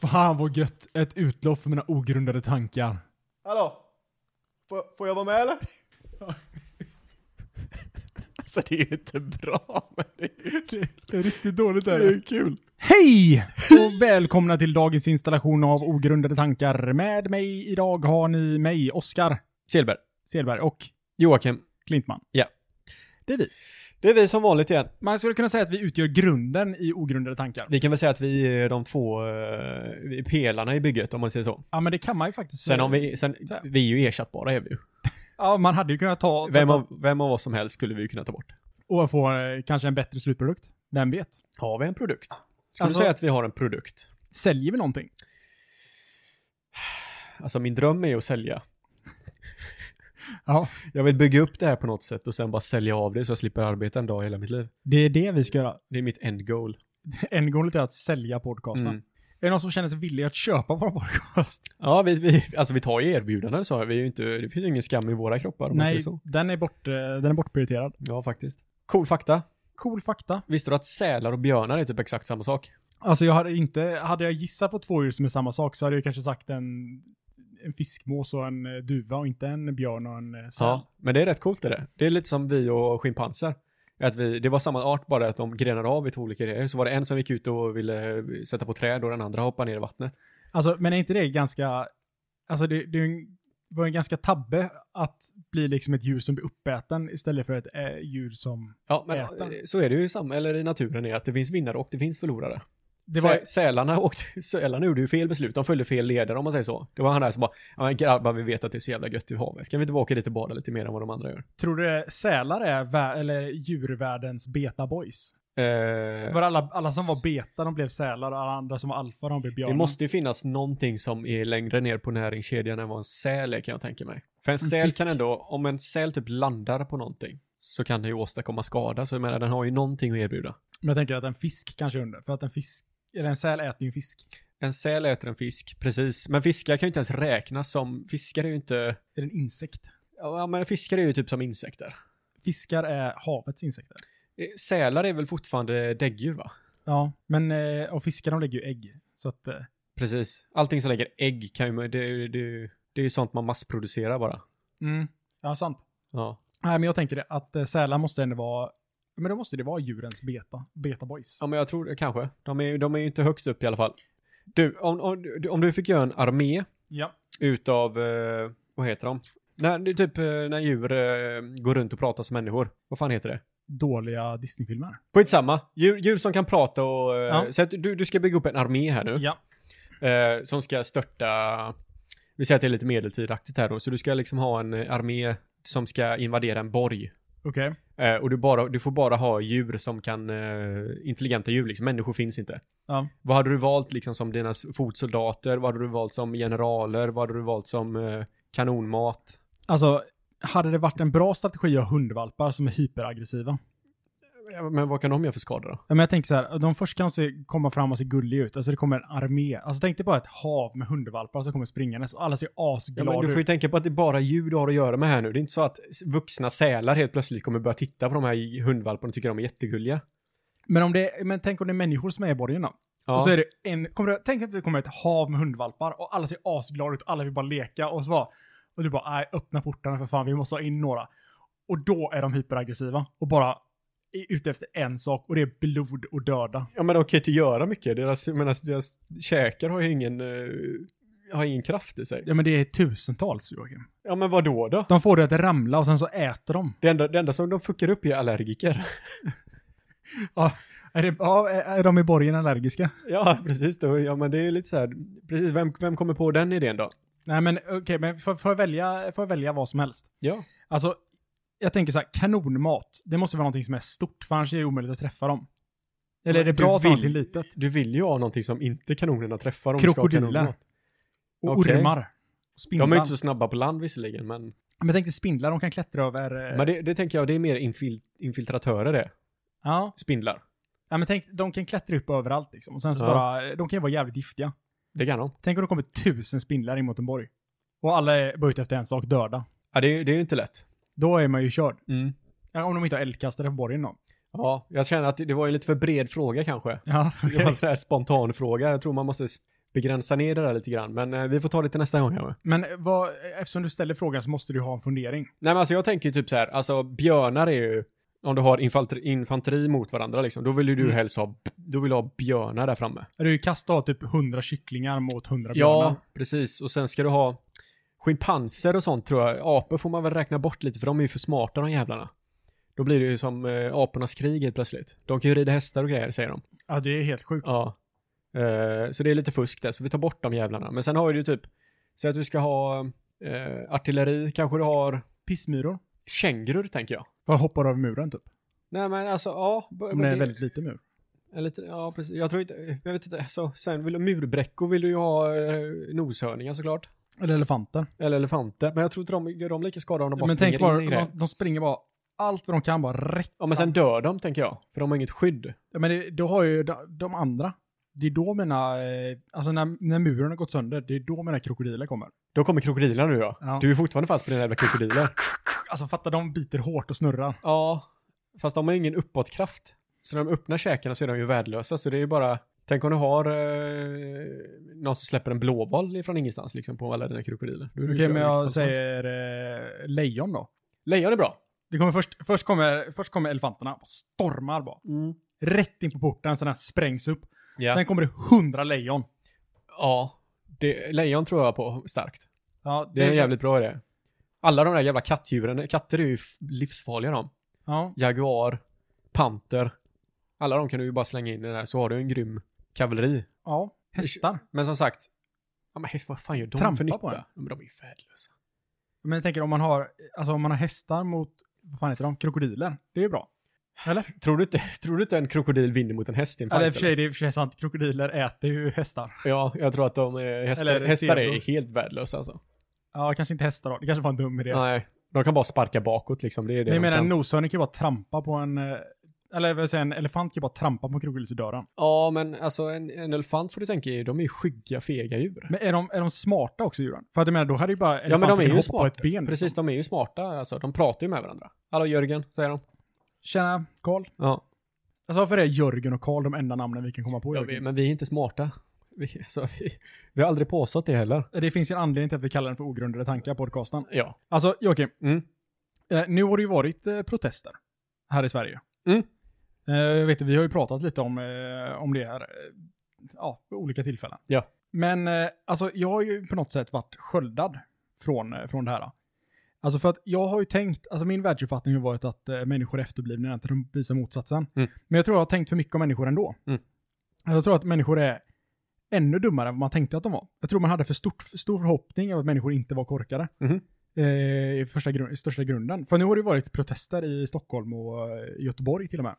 Fan vad gött. Ett utlopp för mina ogrundade tankar. Hallå? Får, får jag vara med eller? Alltså det är ju inte bra, men det är ju kul. Det är riktigt dåligt Det är ju kul. Hej! Och välkomna till dagens installation av ogrundade tankar. Med mig idag har ni mig, Oskar Silver. Selberg och Joakim. Klintman. Ja. Det är vi. Det är vi som vanligt igen. Man skulle kunna säga att vi utgör grunden i ogrundade tankar. Vi kan väl säga att vi är de två eh, vi är pelarna i bygget om man säger så. Ja men det kan man ju faktiskt Sen säga. om vi, sen, Så här. vi är ju ersättbara är vi ju. Ja man hade ju kunnat ta... ta- Vem av, vem av oss som helst skulle vi ju kunna ta bort. Och få eh, kanske en bättre slutprodukt. Vem vet? Har vi en produkt? Skulle Alltså- du säga att vi har en produkt? Säljer vi någonting? Alltså min dröm är ju att sälja. Ja. Jag vill bygga upp det här på något sätt och sen bara sälja av det så jag slipper arbeta en dag i hela mitt liv. Det är det vi ska göra. Det är mitt end goal. Endgoalet är att sälja podcasten. Mm. Är det någon som känner sig villig att köpa vår podcast? Ja, vi, vi, alltså vi tar ju erbjudanden så vi är ju inte, det finns ju ingen skam i våra kroppar om man säger Nej, så. den är, bort, eh, den är bortprioriterad. Ja, faktiskt. Cool fakta. Cool fakta. Visste du att sälar och björnar är typ exakt samma sak? Alltså jag hade inte, hade jag gissat på två djur som är samma sak så hade jag kanske sagt en, en fiskmås och en eh, duva och inte en björn och en eh, säl. Ja. Men det är rätt coolt är det. Det är lite som vi och schimpanser. Att vi, det var samma art bara att de grenade av i två olika grejer. Så var det en som gick ut och ville eh, sätta på träd och den andra hoppade ner i vattnet. Alltså, men är inte det ganska, alltså det, det är ju en, var en ganska tabbe att bli liksom ett djur som blir uppäten istället för ett eh, djur som... Ja, men Äta. eh, så är det ju i sam- eller i naturen är att det finns vinnare och det finns förlorare. Det var, Sä- Sälarna, åkte, sälarna gjorde ju fel beslut, de följde fel leder om man säger så. Det var han där som bara, ja men grabbar vi vet att det är så jävla gött i havet, kan vi inte bara åka dit och bada lite mer än vad de andra gör? tror du det- sälar är vä- eller djurvärldens beta boys? Eh, Var alla, alla som var beta de blev sälar och alla andra som var alfa de blev björnar. det måste ju finnas någonting som är längre ner på näringskedjan än vad en säl är kan jag tänka mig. För en säl fisk. kan ändå, om en säl typ landar på någonting, så kan den ju åstadkomma skada, så jag menar den har ju någonting att erbjuda. Men jag tänker att en fisk kanske är under. För att en fisk, eller en säl äter ju en fisk. En säl äter en fisk, precis. Men fiskar kan ju inte ens räknas som, fiskar är ju inte, Är det en insekt? ja men fiskar är ju typ som insekter. Fiskar är havets insekter. Eh, Sälar är väl fortfarande däggdjur va? Ja, men eh, och fiskar de lägger ju ägg. Så att, eh, Precis. Allting som lägger ägg kan ju, det, det, det är ju sånt man massproducerar bara. mm, ja sant. Ja. Nej, men jag tänker det, att eh, sälar måste ändå vara, men då måste det vara djurens beta, beta boys. Ja men jag tror det kanske. De är, ju- de är ju inte högst upp i alla fall. Du, om, om, du- om du fick göra en armé Ja. utav, eh, vad heter de? När, det är typ eh, när djur eh, går runt och pratar som människor. Vad fan heter det? Dåliga Disney-filmer. Skitsamma. Djur, djur som kan prata och... Eh, Ja. Så att du, du ska bygga upp en armé här nu. Ja. eh, som ska störta, vi säger att det är lite medeltidaktigt här då, så du ska liksom ha en eh, armé som ska invadera en borg. Okej. Eh, och du, bara, du får bara ha djur som kan, eh, intelligenta djur liksom, människor finns inte. Ja. Vad hade du valt liksom som dina s- fotsoldater, vad hade du valt som generaler, vad hade du valt som eh, kanonmat? Alltså, hade det varit en bra strategi att ha hundvalpar som är hyperaggressiva? Ja, Men vad kan de göra för skada då? Ja, men jag tänker så här, de först kan de se, komma fram och se gulliga ut. Alltså det kommer en armé. Alltså tänk dig bara ett hav med hundvalpar som kommer springandes och alla ser Ja, asglada men du får ju ut. tänka på att det är bara djur du har att göra med här nu. Det är inte så att s- vuxna sälar helt plötsligt kommer börja titta på de här hundvalparna och tycker de är jättegulliga. Men, om det, men tänk om det är människor som är i borgen då? Ja. Och så är det en, kommer du, tänk att det kommer ett hav med hundvalpar och alla ser asglada ut, alla vill bara leka och så bara, och du bara, nej, öppna portarna för fan, vi måste ha in några. Och då är de hyperaggressiva och bara är ute efter en sak och det är blod och döda. Ja men de kan ju inte göra mycket. Deras, jag menar, deras käkar har ju ingen, eh, har ingen kraft i sig. Ja men det är tusentals Joakim. Ja men vad då då? De får det att ramla och sen så äter de. Det enda, det enda som de fuckar upp är allergiker. Är, det, ja, är är de i borgen allergiska? ja precis, då, ja men det är ju lite så här, precis, vem, vem kommer på den idén då? Nej men okej, men får, får, jag välja, får jag välja vad som helst? Ja. Alltså, jag tänker så här, kanonmat, det måste vara någonting som är stort, för annars är det omöjligt att träffa dem. Eller är det Men du bra att ha vill- någonting litet? Du vill ju ha någonting som inte kanonerna träffar om du ska ha Krokodiler. kanonmat. Och Okej. ormar. Spindlar. De är ju inte så snabba på land visserligen men, Men tänk dig spindlar, de kan klättra över... eh, men det, det tänker jag, det är mer infil, infiltratörer det. Ja. Spindlar. ja, men tänk, de kan klättra upp överallt liksom. Och sen så Ja. bara, de kan ju vara jävligt giftiga. Det kan de. Tänk om det kommer tusen spindlar in mot en borg. Och alla är bara ute efter en sak, döda. Ja det, är- det är ju inte lätt. Då är man ju körd. Ja, Om de inte har eldkastare på borgen då. Ja, jag känner att det, det var ju lite för bred fråga kanske. Ja, Det var en sån här spontan fråga. Jag tror man måste s- begränsa ner det där lite grann. Men eh, vi får ta det till nästa gång. kanske. Men vad, eftersom du ställer frågan så måste du ha en fundering. Nej men alltså jag tänker ju typ så här, alltså björnar är ju, om du har infanteri, infanteri mot varandra liksom, då vill ju du Mm. helst ha, då vill du ha björnar där framme. Du kastar av typ 100 kycklingar mot 100 Ja, björnar. precis. Och sen ska du ha schimpanser och sånt tror jag. Apor får man väl räkna bort lite för de är ju för smarta de jävlarna. Då blir det ju som eh, apornas krig helt plötsligt. De kan ju rida hästar och grejer säger de. Ja, det är helt sjukt. Ja. Eh, så det är lite fusk där, så vi tar bort de jävlarna. Men sen har du ju typ, säg att du ska ha eh, artilleri, kanske du har Pissmyror. kängurur tänker jag. Bara hoppar över muren typ. Nej men alltså ja. b- Om men det är det- en väldigt liten mur. en liten- ja precis. Jag tror inte, jag vet inte. Så, sen vill du murbräckor vill du ju ha eh, noshörningar såklart. Eller elefanter. Eller elefanter. Men jag tror inte de gör dem lika skadade om de bara Men springer tänk bara, in i grejer. de, de springer bara allt vad de kan, bara rätt. Ja men sen dör de tänker jag. För de har inget skydd. Ja, Men det, då har ju de, de andra. Det är då mina, eh, alltså när, när muren har gått sönder, det är då mina krokodiler kommer. Då kommer krokodiler nu ja. Ja. Du är fortfarande fast på dina jävla krokodiler. Alltså fatta, de biter hårt och snurrar. Ja. Fast de har ingen uppåtkraft. Så när de öppnar käkarna så är de ju värdelösa. Så det är ju bara... Tänk om du har eh, någon som släpper en blåboll ifrån ingenstans liksom på alla dina krokodiler. Då är du Okej, körd men vilket fall jag som helst. säger eh, lejon då. Lejon är bra. Det kommer först, först, kommer, först kommer elefanterna, bara stormar bara. Rätt in på porten så den här sprängs upp. Ja. Mm. Sen kommer det hundra lejon. Ja, det, lejon tror jag på starkt. Ja, Det är en jävligt bra idé. Alla de där jävla kattdjuren, katter är ju f- livsfarliga de. Ja, Jaguar, panter. Alla de kan du ju bara slänga in i den här så har du en grym kavalleri. ja. Hästar. Men som sagt, ja, men häst, vad fan gör de Trampa på för nytta? den. Ja, Men de är ju värdelösa. Men jag tänker om man har, alltså om man har hästar mot, vad fan heter de, krokodiler. Det är ju bra. Eller? Tror du, inte, tror du inte en krokodil vinner mot en häst i en fight? Eller i och för sig, eller? det är i och för sig sant. Krokodiler äter ju hästar. Ja, jag tror att de är, hästar, Eller hästar är zebra. helt värdelösa alltså. Ja, kanske inte hästar då. Det kanske var en dum idé. Nej, de kan bara sparka bakåt liksom. Det är det Men jag de menar, kan. en noshörning kan ju bara trampa på en, eh, eller vad säger en elefant kan ju bara trampa på en krokodil i dörren. Ja, men alltså en, en elefant får du tänka är, de är ju skygga, fega djur. Men är de, är de smarta också djuren? För att jag menar, då hade ju bara Ja men de elefanten är ju kunnat hoppa på smarta. ett ben. liksom? Precis, de är ju smarta. Alltså, de pratar ju med varandra. Hallå Jörgen, säger de. Tjena, Karl. Ja. Alltså varför är Jörgen och Karl de enda namnen vi kan komma på? Jörgen? men vi är inte smarta. Vi, alltså, vi, vi har aldrig påstått det heller. Det finns ju en anledning till att vi kallar den för ogrundade tankar, podcasten. Ja. Alltså Joakim, Mm. eh, nu har det ju varit eh, protester här i Sverige. Mm. Eh, jag vet, vi har ju pratat lite om, eh, om det här, eh, ja, vid olika tillfällen. Ja. Men eh, alltså jag har ju på något sätt varit sköldad från, eh, från det här. Alltså för att jag har ju tänkt, alltså min världsuppfattning har varit att eh, människor är efterblivna när de visar motsatsen. Mm. Men jag tror jag har tänkt för mycket om människor ändå. Mm. Jag tror att människor är ännu dummare än vad man tänkte att de var. Jag tror man hade för stort, stor förhoppning om att människor inte var korkade. Mhm. Eh, i, första gru- i största grunden. För nu har det ju varit protester i Stockholm och eh, Göteborg till och med.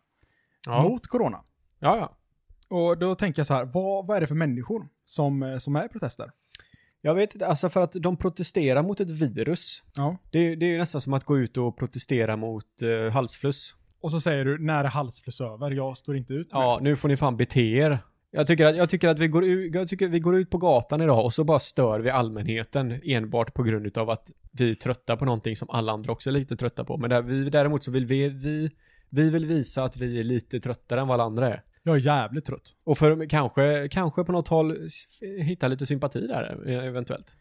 Ja. Mot corona. ja, ja. Och då tänker jag så här, vad, vad är det för människor som, eh, som är i protester? Jag vet inte, alltså för att de protesterar mot ett virus. Ja. Det, är- det är ju nästan som att gå ut och protestera mot eh, halsfluss. Och så säger du, när är halsfluss över? Jag står inte ut med Ja, nu får ni fan bete er. Jag tycker, att, jag, tycker att vi går ut, jag tycker att vi går ut på gatan idag och så bara stör vi allmänheten enbart på grund utav att vi är trötta på någonting som alla andra också är lite trötta på. Men där vi, däremot så vill vi, vi, vi vill visa att vi är lite tröttare än vad alla andra är. Jag är jävligt trött. Och för, kanske, kanske på något håll s- hitta lite sympati där eh, eventuellt.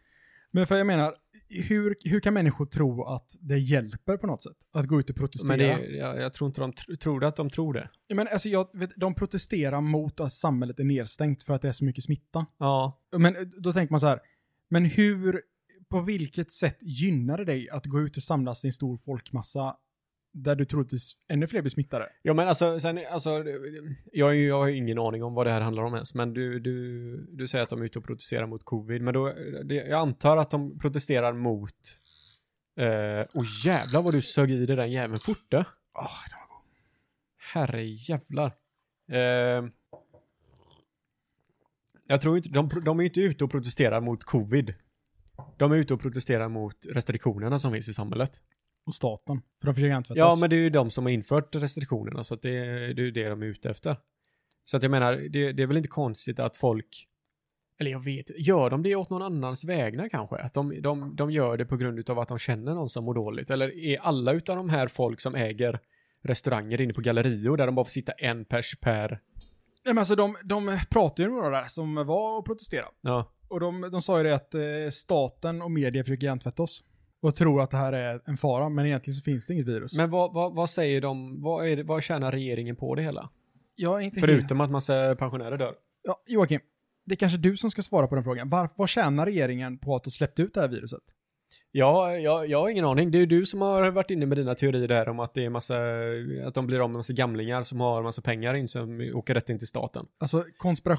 Men för jag menar, hur, hur kan människor tro att det hjälper på något sätt? Att gå ut och protestera? Men det, jag, jag tror inte de tr- tror att de tror det. Ja, Men alltså jag vet, de protesterar mot att samhället är nedstängt för att det är så mycket smitta. Ja. Men eh, då tänker man så här, men hur, på vilket sätt gynnar det dig att gå ut och samlas i en stor folkmassa där du troligtvis ännu fler blir smittade? Ja men alltså, sen, alltså jag, har ju- jag har ju ingen aning om vad det här handlar om ens, men du, du, du säger att de är ute och protesterar mot covid, men då, det, jag antar att de protesterar mot... Eh, oh jävlar vad du sög i dig den jäveln fort du. Oh, det var gott. Herre jävlar. Eh, jag tror inte, de, de är ju inte ute och protesterar mot covid. De är ute och protesterar mot restriktionerna som finns i samhället. och staten, för de försöker antvätta Ja, oss. men det är ju de som har infört restriktionerna, så att det, det är ju det de är ute efter. Så att jag menar, det, det är väl inte konstigt att folk, eller jag vet gör de det åt någon annans vägnar kanske? Att de, de, de gör det på grund av att de känner någon som mår dåligt? Eller är alla utav de här folk som äger restauranger inne på gallerior där de bara får sitta en pers per Nej, men alltså de, de pratade ju med några där som var och protesterade. Ja. Och de, de sa ju det att eh, staten och media försöker hjärntvätta oss. Och tror att det här är en fara, men egentligen så finns det inget virus. Men vad, vad, vad säger de, vad, är det, vad tjänar regeringen på det hela? jag är inte helt- Förutom att massa pensionärer dör. Ja, Joakim, det är kanske du som ska svara på den frågan. Varför, vad tjänar regeringen på att ha släppt ut det här viruset? Ja, jag, jag har ingen aning. Det är ju du som har varit inne med dina teorier där om att det är massa, att de blir av med massa gamlingar som har massa pengar in som åker rätt in till staten. Alltså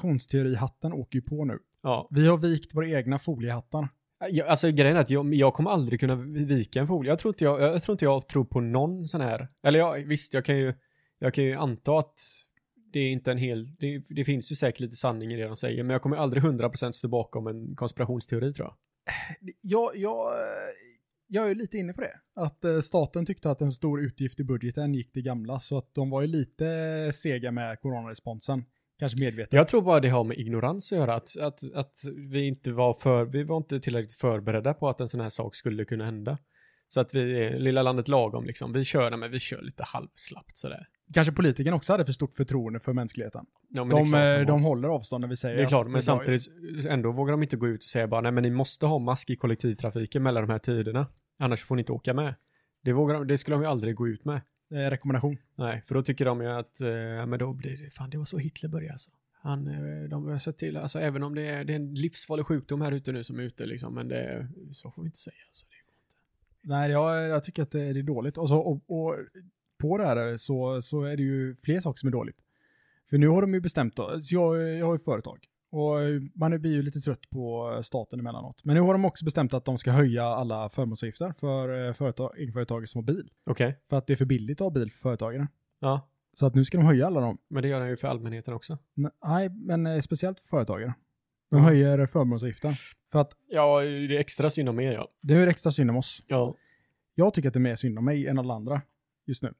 konspirationsteorihatten åker ju på nu. Ja, Vi har vikt våra egna foliehattar. Jag, alltså grejen är att jag, jag kommer aldrig kunna vika en folie. Jag tror inte jag, jag tror inte jag tror på någon sån här. Eller jag, visst, jag kan ju, jag kan ju anta att det är inte en hel, det, det finns ju säkert lite sanning i det de säger, men jag kommer aldrig 100% stå bakom en konspirationsteori tror jag. Jag, jag, jag är ju lite inne på det. Att eh, staten tyckte att en stor utgift i budgeten gick till gamla, så att de var ju lite sega med coronaresponsen. Kanske medvetet. Jag tror bara det har med ignorans att göra, att, att, att vi inte var för, vi var inte tillräckligt förberedda på att en sån här sak skulle kunna hända. Så att vi, är lilla landet lagom liksom, vi kör, nej, men vi kör lite halvslappt sådär. Kanske politikerna också hade för stort förtroende för mänskligheten. Ja, men det är De, klart att eh, var. de håller avstånd när vi säger Det är klart, att men det var- samtidigt ändå vågar de inte gå ut och säga bara nej men ni måste ha mask i kollektivtrafiken mellan de här tiderna. Annars får ni inte åka med. Det, vågar de, det skulle de ju aldrig gå ut med. Eh, rekommendation. Nej, för då tycker de ju att eh, men då blir det, fan det var så Hitler började alltså. Han, eh, de har sett till, alltså även om det är, det är en livsfarlig sjukdom här ute nu som är ute liksom, men det, så får vi inte säga. Alltså. Nej, jag, jag tycker att det, det är dåligt. Och, så, och, och på det här så, så är det ju fler saker som är dåligt. För nu har de ju bestämt, då- så jag, jag har ju företag och man blir ju lite trött på staten emellanåt. Men nu har de också bestämt att de ska höja alla förmånsavgifter för eh, företag, egenföretagare som har bil. Okej, För att det är för billigt att ha bil för företagare. ja, Så att nu ska de höja alla dem. men det gör han ju för allmänheten också. Nej, men eh, speciellt för företagare. De Ja. höjer förmånsavgiften. För att Ja, det är extra synd om er ja. det är extra synd om oss. ja. Jag tycker att det är mer synd om mig än alla andra just nu.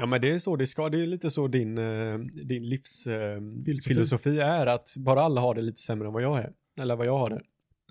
Ja men det är så det ska, det är lite så din, eh, din livsfilosofi Filosofi. filosofi. filosofi är att bara alla har det lite sämre än vad jag är. Eller vad jag har det.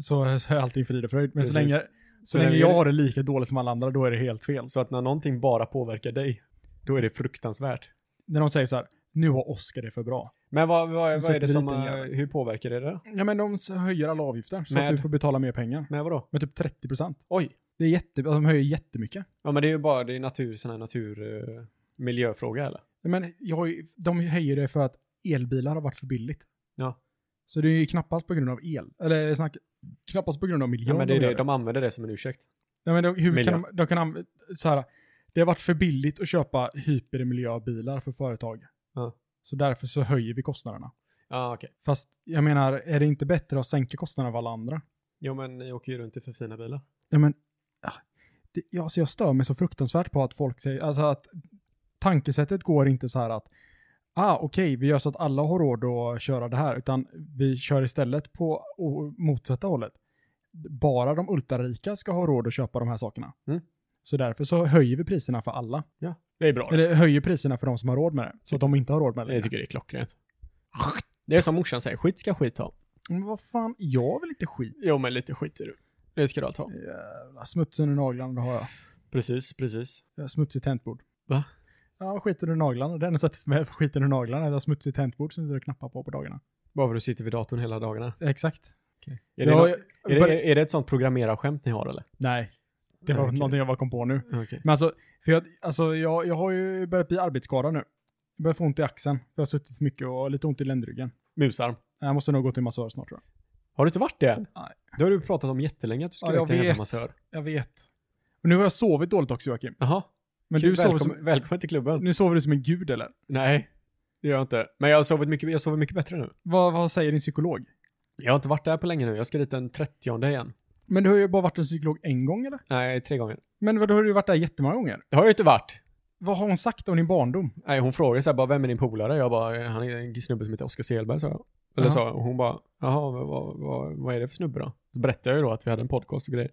så, så är allting frid och fröjd. Men så Precis. länge, så länge jag har det lika dåligt som alla andra, då är det helt fel. Så att när någonting bara påverkar dig, då är det fruktansvärt. När de säger så här, nu har Oscar det för bra. Men vad, vad, vad sätter är det som, dit en eh, jävel. hur påverkar det då? Ja, men de s- höjer alla avgifter så Med? att du får betala mer pengar. Men vadå? Med typ 30 procent. Oj! Det är jätte, alltså, de höjer jättemycket. Ja men det är ju bara, det är natur, sån här natur, eh, miljöfråga eller? Men jag, har ju- de höjer det för att elbilar har varit för billigt. Ja. Så det är ju knappast på grund av el. Eller snack, knappast på grund av miljön. Ja, men det är de det, gör det. de använder det som en ursäkt. Ja, men de, hur Miljö. kan de, de kan anv- så här, det har varit för billigt att köpa hypermiljöbilar för företag. Ja. Så därför så höjer vi kostnaderna. Ja okej. Fast jag menar, är det inte bättre att sänka kostnaderna för alla andra? Jo men ni åker ju runt i för fina bilar. Ja, men, ah, det, ja, alltså jag stör mig så fruktansvärt på att folk säger, alltså att tankesättet går inte så här att, ah okej, vi gör så att alla har råd att köra det här, utan vi kör istället på o- motsatta hållet. Bara de ultrarika ska ha råd att köpa de här sakerna. Mm. Så därför så höjer vi priserna för alla. Det är bra. Eller höjer priserna för de som har råd med det, så att de inte har råd med det. Jag tycker det är klockrent. Det är som morsan säger, skit ska skit ha. Men vad fan, jag vill inte skit. Jo men lite skit är du. Det ska du allt ha. Jävla smuts under naglarna, det har jag. Precis, precis. Jag har Eh, smutsigt tangentbord. Va? Ja, skiten ur naglarna. Den har satt för mig för skiten ur naglarna. Jag har smutsigt tangentbord som jag sitter och knappar på på dagarna. Bara för att du sitter vid datorn hela dagarna. Exakt. Är, Jag- det, jag- nå- är, bör- det, är det ett sånt programmerarskämt ni har eller? Nej, det var Nej, okej. någonting jag bara kom på nu. Okej. Men alltså, för jag, alltså jag, jag har ju börjat bli arbetsskadad nu. Jag börjar få ont i axeln. Jag har suttit mycket och har lite ont i ländryggen. Musarm. Jag måste nog gå till massör snart tror jag. Har du inte varit det än? Nej. Det har du pratat om jättelänge att du ska Ja, ja, jag till en vet. jävla massör. Jag vet. Och nu har jag sovit dåligt också Joakim. Jaha. Men Kul, du sover välkommen, som, välkommen till klubben. nu sover du som en gud eller? Nej, det gör jag inte. Men jag har sovit mycket, jag sover mycket bättre nu. Vad, vad säger din psykolog? Jag har inte varit där på länge nu. Jag ska dit den 30 igen. Men du har ju bara varit en psykolog en gång eller? Nej, tre gånger. Men vadå, har du varit där jättemånga gånger? Det har jag ju inte varit. Vad har hon sagt om din barndom? Nej, hon frågade så här, bara, vem är din polare? Jag bara, "Eh, han är en snubbe som heter Oskar Selberg, sa jag. Eller Jaha. sa jag. Och hon bara, jaha, vad, vad, vad, vad är det för snubbe då? Då berättade jag ju då att vi hade en podcast och grejer.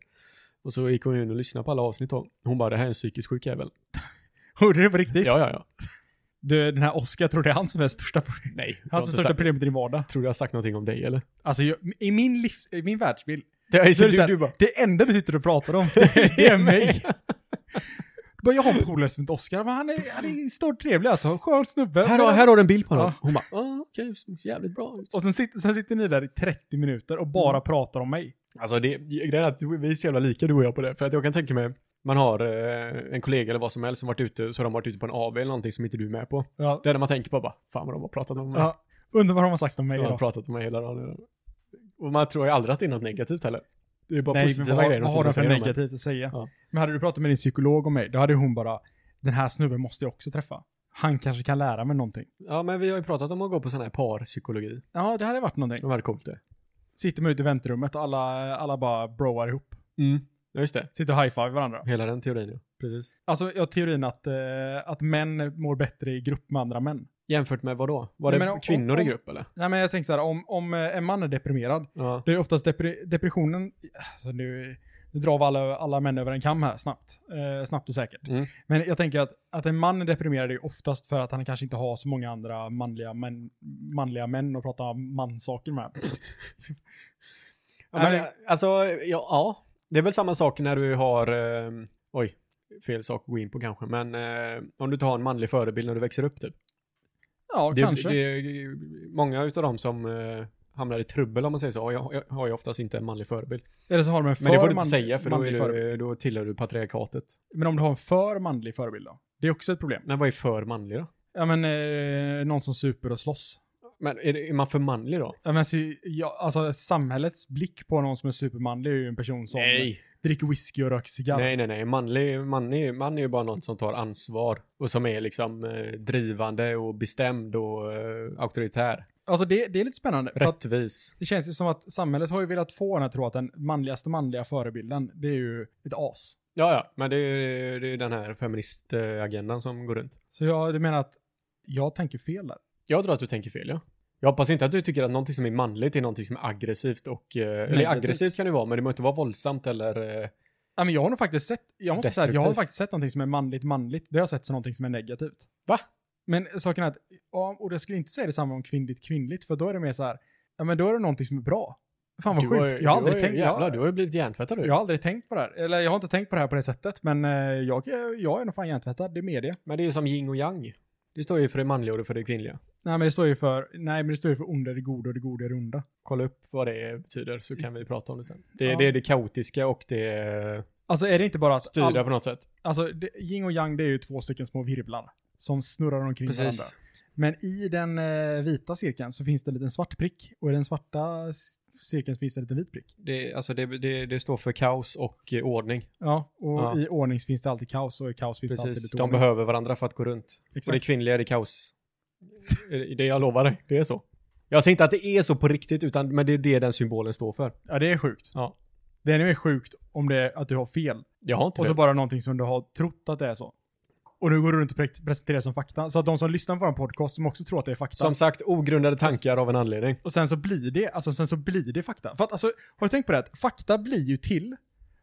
Och så gick hon in och lyssnade på alla avsnitt då. Hon bara, det här är en psykisk sjuk jävel. Hörde du det på riktigt? Ja, ja, ja. Du, den här Oscar, tror det är han som är största problemet? Nej, jag har Han som inte är största sagt, problemet i din vardag. tror du jag har sagt någonting om dig eller? Alltså, jag, i min livs, i min världsbild, Det är, så är det, du, så här, du bara, det enda vi sitter och pratar om, det är mig. Bara, Jag har en polare som heter Oskar, men han är, han är stort trevlig alltså. Skön snubbe. Här Men- har, här har du en bild på honom. Ja. Hon bara, ah, okej, jävligt bra ut. Och sen sitter, sen sitter ni där i 30 minuter och bara pratar om mig. Alltså det, grejen är att du- vi är så jävla lika du och jag på det. För att jag kan tänka mig, man har eh, en kollega eller vad som helst som varit ute, så har de varit ute på en AV eller någonting som inte du är med på. Ja. Det är det man tänker på bara, fan vad de har pratat om mig. Ja. Undrar vad de har sagt om mig de har idag. pratat om mig hela dagen. Och man tror ju aldrig att det är något negativt heller. Det är bara Nej, men positiva vad, grejer de vad sitter har de och för säger om en. negativt att säga? Ja. Men hade du pratat med din psykolog om mig, då hade hon bara, den här snubben måste jag också träffa. Han kanske kan lära mig någonting. Ja, men vi har ju pratat om att gå på sån här parpsykologi. Ja, det hade varit någonting. Det var coolt det. Sitter man ute i väntrummet och alla, alla bara broar ihop. Ja, just det. Sitter och high-five varandra. Hela den teorin ja. Precis. Alltså, jag har teorin att, eh, att män mår bättre i grupp med andra män. Jämfört med vad då? Var Nej, det men om- kvinnor om- i grupp eller? Nej, men jag tänker så här, om, om eh, en man är deprimerad, Ja. det är oftast depre- depressionen, alltså nu, nu drar vi alla, alla män över en kam här snabbt, eh, snabbt och säkert. Mm. Men jag tänker att, att en man är deprimerad är ju oftast för att han kanske inte har så många andra manliga män, manliga män att prata mansaker med. Ja, men, alltså, ja, ja. Det är väl samma sak när du har, eh, oj, fel sak att gå in på kanske, men eh, om du tar en manlig förebild när du växer upp typ. ja, Det, kanske. Det, är- många utav dem som eh, hamnar i trubbel om man säger så, har ju- har ju- har ju oftast inte en manlig förebild. Eller så har de en för Men det får du man- inte säga för då, manlig är förebild. du, då tillhör du patriarkatet. Men om du har en för manlig förebild då? Det är också ett problem. Men vad är för manlig då? Ja, men eh, någon som super och slåss. Men är, det, är man för manlig då? Ja, men alltså, ja, alltså, samhällets blick på någon som är supermanlig är ju en person som dricker whisky och röker cigarr. Nej, nej, nej. Manlig, manlig, man är ju bara någon som tar ansvar och som är liksom eh, drivande och bestämd och eh, auktoritär. Alltså det, det är lite spännande. För att Rättvis. det känns ju som att samhället har ju velat få den att tro att den manligaste manliga förebilden, det är ju ett as. Ja, ja, men det är, det är den här feministagendan som går runt. Så jag du menar att jag tänker fel där. Jag tror att du tänker fel, ja. Jag hoppas inte att du tycker att någonting som är manligt är någonting som är aggressivt och... eh, Eller Negativt. aggressivt kan det vara, men det behöver inte vara våldsamt eller... eh, Ja, men jag har nog faktiskt sett, jag måste säga att jag har Destruktivt. faktiskt sett någonting som är manligt manligt. Det har jag sett som någonting som är negativt. Va? Men saken är att, ja, och jag skulle inte säga detsamma om kvinnligt kvinnligt, för då är det mer så här, ja men då är det någonting som är bra. Fan vad du har- sjukt, jag har du aldrig tänkt, jag- Jävlar, du har ju blivit hjärntvättad du. Jag har aldrig tänkt på det här. Eller jag har inte tänkt på det här på det sättet, men eh, jag, jag är nog fan hjärntvättad, det är det. Men det är ju som yin och yang. Det står ju för det manliga och det för det kvinnliga. Nej men det står ju för, nej men det står ju för onda är det goda och det goda är det onda. Kolla upp vad det betyder så kan vi prata om det sen. Det, Ja. det är det kaotiska och det Alltså är det inte bara att, styra all, på något sätt. alltså det, yin och yang det är ju två stycken små virvlar som snurrar omkring varandra. Men i den eh, vita cirkeln så finns det en liten svart prick och i den svarta s- cirkeln så finns det en liten vit prick. Det, alltså det, det, det står för kaos och eh, ordning. Ja, och Ja. i ordning finns det alltid kaos och i kaos finns det alltid Precis. lite De ordning. behöver varandra för att gå runt. Och det Exakt. kvinnliga är det kaos. Det- det jag lovar dig, det är så. Jag säger inte att det är så på riktigt, utan, men det är det den symbolen står för. Ja det är sjukt. Ja. Det är ännu mer sjukt om det är att du har fel. Jag har inte Och så fel. bara någonting som du har trott att det är så. Och nu går du runt och pre- presenterar som fakta. Så att de som lyssnar på vår podcast, som också tror att det är fakta. Som sagt, ogrundade tankar av en anledning. Och sen så blir det, alltså sen så blir det fakta. För att alltså, har du tänkt på det? Att fakta blir ju till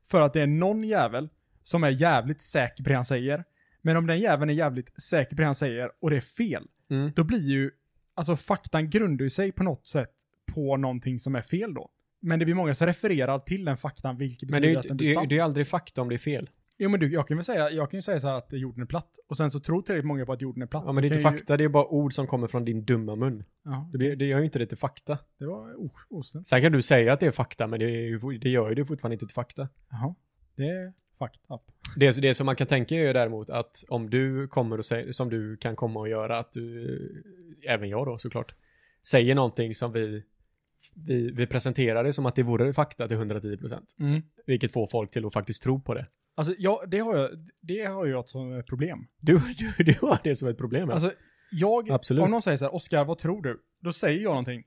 för att det är någon jävel som är jävligt säker på det han säger. Men om den jäveln är jävligt säker på det han säger och det är fel, Mm. då blir ju, alltså faktan grundar ju sig på något sätt på någonting som är fel då. Men det blir många som refererar till den faktan, vilket Men betyder det är, att ju- den det, blir är, sann. Alltså, det är aldrig fakta om det är fel. Jo men du, jag kan väl säga, jag kan ju säga så här att jorden är platt och sen så tror tillräckligt många på att jorden är platt. Ja, så men det är kan inte ju- fakta, det är bara ord som kommer från din dumma mun. Ja, Det, blir, det gör ju inte det till fakta. det var oh, osnällt. Sen kan du säga att det är fakta, men det, är, ju- det gör ju det fortfarande inte till fakta. Jaha, det är fucked up. Det, det som man kan tänka är ju däremot att om du kommer och säger, som du kan komma och göra, att du, även jag då såklart, säger någonting som vi, vi, vi presenterar det som att det vore fakta till 110%. Mm. Vilket får folk till att faktiskt tro på det. Alltså ja, det har jag, det har jag som ett problem. Du, du, du har det som ett problem. ja. Alltså jag, Absolut. om någon säger så här, Oskar vad tror du? Då säger jag någonting.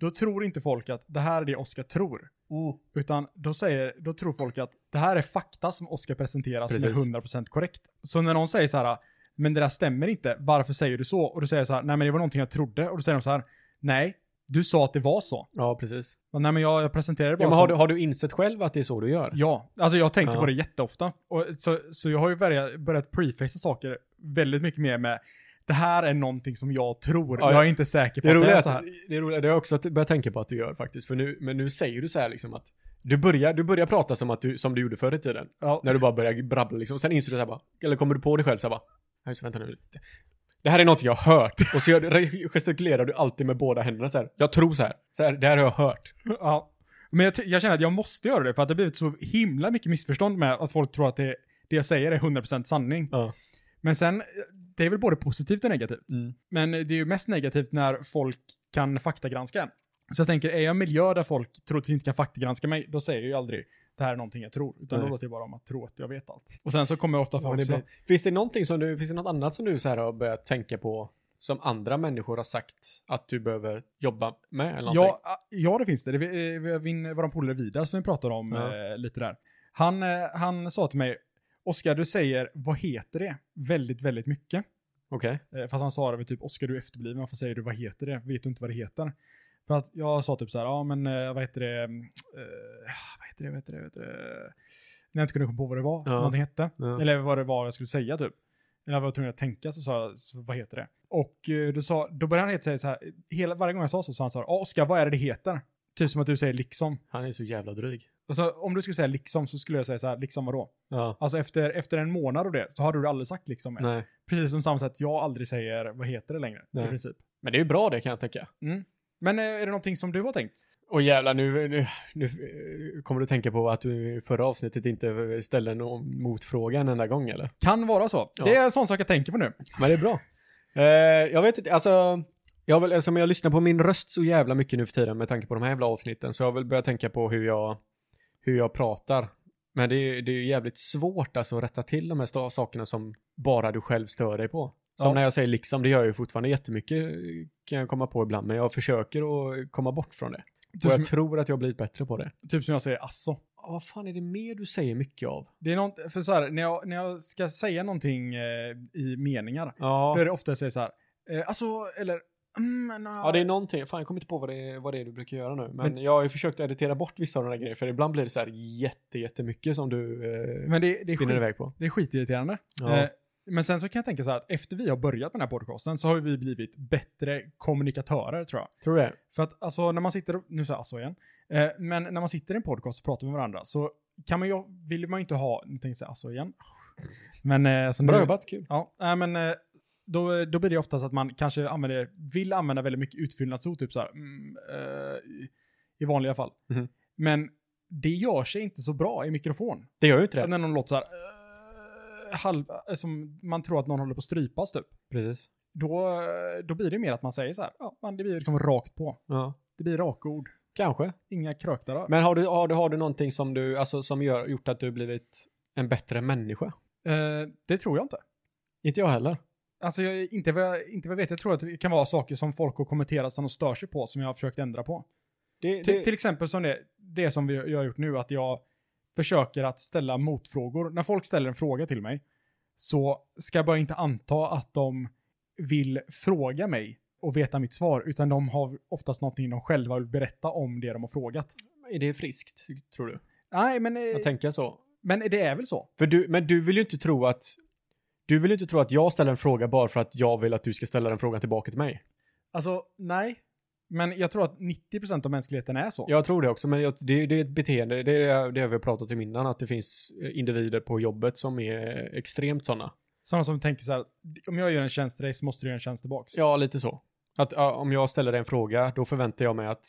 Då tror inte folk att det här är det Oskar tror. Mm. Utan då, säger, då tror folk att det här är fakta som Oskar presenterar som är Precis. 100% korrekt. Så när någon säger så här, men det där stämmer inte, varför säger du så? Och då säger jag så här, nej men det var någonting jag trodde. Och då säger de så här, nej, du sa att det var så. ja, precis. Men, nej men jag, jag presenterade det bara Ja, men har, som... du, har du insett själv att det är så du gör? Ja, alltså jag tänker Ja. på det jätteofta. Och så, så jag har ju börjat, börjat prefacea saker väldigt mycket mer med det här är någonting som jag tror. Ja, jag är inte säker på Det att det roliga är är så att, här. det är roligt, det har jag också att- börjat tänka på att du gör faktiskt. För nu, men nu säger du så här liksom att du börjar, du börjar prata som, att du, som du gjorde förr i tiden. Ja. När du bara börjar brabbla liksom. Sen inser du så här bara, eller kommer du på dig själv så här bara, "Nej, just det, vänta nu lite. Det här är någonting jag har hört. Och så gör, du- gestikulerar du alltid med båda händerna så här. Jag tror så här. Så här, det här har jag hört. Ja. Men jag, ty- jag känner att jag måste göra det för att det har blivit så himla mycket missförstånd med att folk tror att det, det jag säger är 100% sanning. Ja. Men sen, det är väl både positivt och negativt. Mm. Men det är ju mest negativt när folk kan faktagranska en. Så jag tänker, är jag i en miljö där folk troligtvis inte kan faktagranska mig, då säger jag ju aldrig det här är någonting jag tror. Utan Nej. då låter jag bara om att tro att jag vet allt. Och sen så kommer ofta Ja, folk det är bra. säga, Finns det någonting som du, finns det något annat som du så här har börjat tänka på som andra människor har sagt att du behöver jobba med eller någonting? ja, ah, ja, det finns det. det är, eh, min, vår polare Vidar som vi pratade om Ja. eh, lite där. Han, eh, han sa till mig, Oskar du säger, vad heter det? Väldigt, väldigt mycket. Okej. Eh, Fast han sa det väl typ, Oskar du är efterbliven, varför säger du vad heter det? Vet du inte vad det heter? För att jag sa typ så här, ja men eh, vad heter det, Mm, eh, vad heter det, vad heter det, vad heter det? När jag inte kunde komma på vad det var, Ja. någonting hette. Ja. Eller vad det var jag skulle säga typ. Eller jag var tvungen att tänka så sa jag, så, vad heter det? Och eh, då, sa, då började han säga så här, hela, varje gång jag sa så sa han så här, "Ja, Oskar vad är det det heter? Typ som att du säger liksom. Han är så jävla dryg. Och så, om du skulle säga liksom så skulle jag säga så här, liksom vadå? Ja. Alltså efter, efter en månad och det så har du aldrig sagt liksom. än. Nej. Precis som samma sätt jag aldrig säger vad heter det längre. Nej. I princip. Men det är ju bra det kan jag tänka. Men eh, är det någonting som du har tänkt? Och jävlar, nu, nu, nu eh, kommer du tänka på att du i förra avsnittet inte ställde någon motfråga en enda gång eller? Kan vara så. Ja. Det är en sån sak jag tänker på nu. Men det är bra. eh, jag vet inte, alltså. Jag har väl, eftersom jag lyssnar på min röst så jävla mycket nu för tiden med tanke på de här jävla avsnitten så jag har väl börjat tänka på hur jag, hur jag pratar. Men det är, det är ju jävligt svårt alltså att rätta till de här sta- sakerna som bara du själv stör dig på. Som Ja. när jag säger liksom, det gör jag ju fortfarande jättemycket eh, kan jag komma på ibland, men jag försöker att komma bort från det. Och Typ jag som, tror att jag har blivit bättre på det. typ som jag säger asså. Ja, vad fan är det mer du säger mycket av? Det är nånt, för så här, när jag, när jag ska säga någonting eh, i meningar, Ja. då är det ofta jag säger så här, eh, alltså, eller, mm, no. Ja, det är någonting. Fan, jag kommer inte på vad det är, vad det är du brukar göra nu. Men, jag har ju försökt editera bort vissa av de här grejerna, för ibland blir det så här jätte, jättemycket som du eh, men det, det, är spinner skit, iväg på. det är skitirriterande. Ja. Eh, men sen så kan jag tänka så här att efter vi har börjat med den här podcasten så har vi blivit bättre kommunikatörer tror jag. Tror du det? För att alltså när man sitter, och- nu säger jag alltså igen, eh, men när man sitter i en podcast och pratar med varandra så kan man ju, vill man ju inte ha, nu tänkte jag säga alltså igen. Men eh, så nu, Bra jobbat, kul. Ja, nej, men eh, då, då blir det oftast att man kanske använder, vill använda väldigt mycket utfyllnadsord, typ så här, mm, eh, i- i vanliga fall. Mhm. Men det gör sig inte så bra i mikrofon. Det gör ju inte det. När någon låter så här, eh, halv, eh, som man tror att någon håller på att strypas typ. Precis. Då, eh, då blir det mer att man säger så här, ja, man, det blir liksom rakt på. Ja. Det blir rakord. Kanske. Inga krökdörrar. Men har du, har du, har du någonting som du, alltså som gör, gjort att du blivit en bättre människa? Eh, det tror jag inte. Inte jag heller. Alltså, jag, inte, vad jag, inte vad jag vet. Jag tror att det kan vara saker som folk har kommenterat som de stör sig på som jag har försökt ändra på. Det, Till- Till exempel som det, det som vi, jag har gjort nu, att jag försöker att ställa motfrågor. När folk ställer en fråga till mig så ska jag bara inte anta att de vill fråga mig och veta mitt svar, utan de har oftast någonting de själva vill berätta om det de har frågat. är det friskt, tror du? Nej, men, eh, Att tänka så. men det är väl så. För du, men du vill ju inte tro att du vill ju inte tro att jag ställer en fråga bara för att jag vill att du ska ställa den frågan tillbaka till mig. Alltså, nej. Men jag tror att 90% av mänskligheten är så. Jag tror det också, men jag, det, det är ett beteende, det är det vi har pratat om innan, att det finns eh, individer på jobbet som är extremt sådana. Sådana som tänker så här, om jag gör en tjänst till dig så måste du göra en tjänst tillbaks. Ja, lite så. Att ja, om jag ställer dig en fråga, då förväntar jag mig att,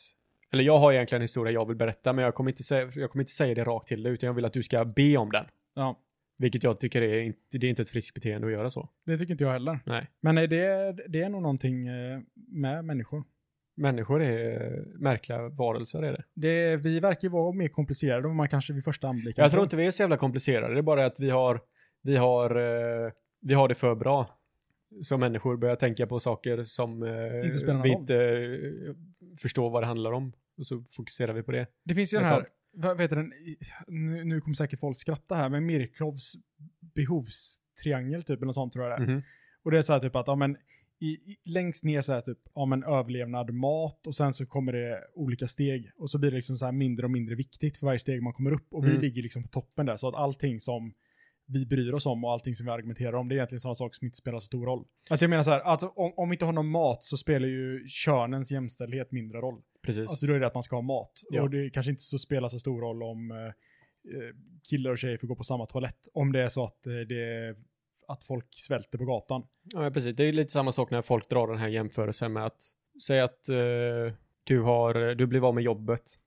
eller jag har egentligen en historia jag vill berätta, men jag kommer inte säga, jag kommer inte säga det rakt till dig, utan jag vill att du ska be om den. Ja, Vilket jag tycker är inte, det är inte ett friskt beteende att göra så. det tycker inte jag heller. Nej. Men eh, det, det är nog någonting eh, med människor. Människor är eh, märkliga varelser, är det. Det, vi verkar ju vara mer komplicerade än man kanske vid första anblicken Jag tror inte vi är så jävla komplicerade. Det är bara att vi har, vi har, eh, vi har det för bra. Så människor börjar tänka på saker som eh, Inte spelar någon vi roll. inte eh, förstår vad det handlar om. Och så fokuserar vi på det. Det finns ju den Jag här, vad vet du, den, nu, nu kommer säkert folk skratta här, men Mirkovs behovstriangel typ, eller något sånt tror jag det är. Mhm. Och det är så här typ att, ja men, i, i, längst ner så här typ, ja men överlevnad, mat och sen så kommer det olika steg och så blir det liksom så här mindre och mindre viktigt för varje steg man kommer upp och vi Mm. ligger liksom på toppen där så att allting som vi bryr oss om och allting som vi argumenterar om, det är egentligen sådana saker som inte spelar så stor roll. Alltså jag menar så här, alltså, om, om vi inte har någon mat så spelar ju könens jämställdhet mindre roll. Precis. Alltså då är det att man ska ha mat. Ja. Och det kanske inte så spelar så stor roll om eh, eh, killar och tjejer får gå på samma toalett. Om det är så att, eh, det, att folk svälter på gatan. Ja, men precis. Det är ju lite samma sak när folk drar den här jämförelsen med att säg att eh, du, har, du blev av med jobbet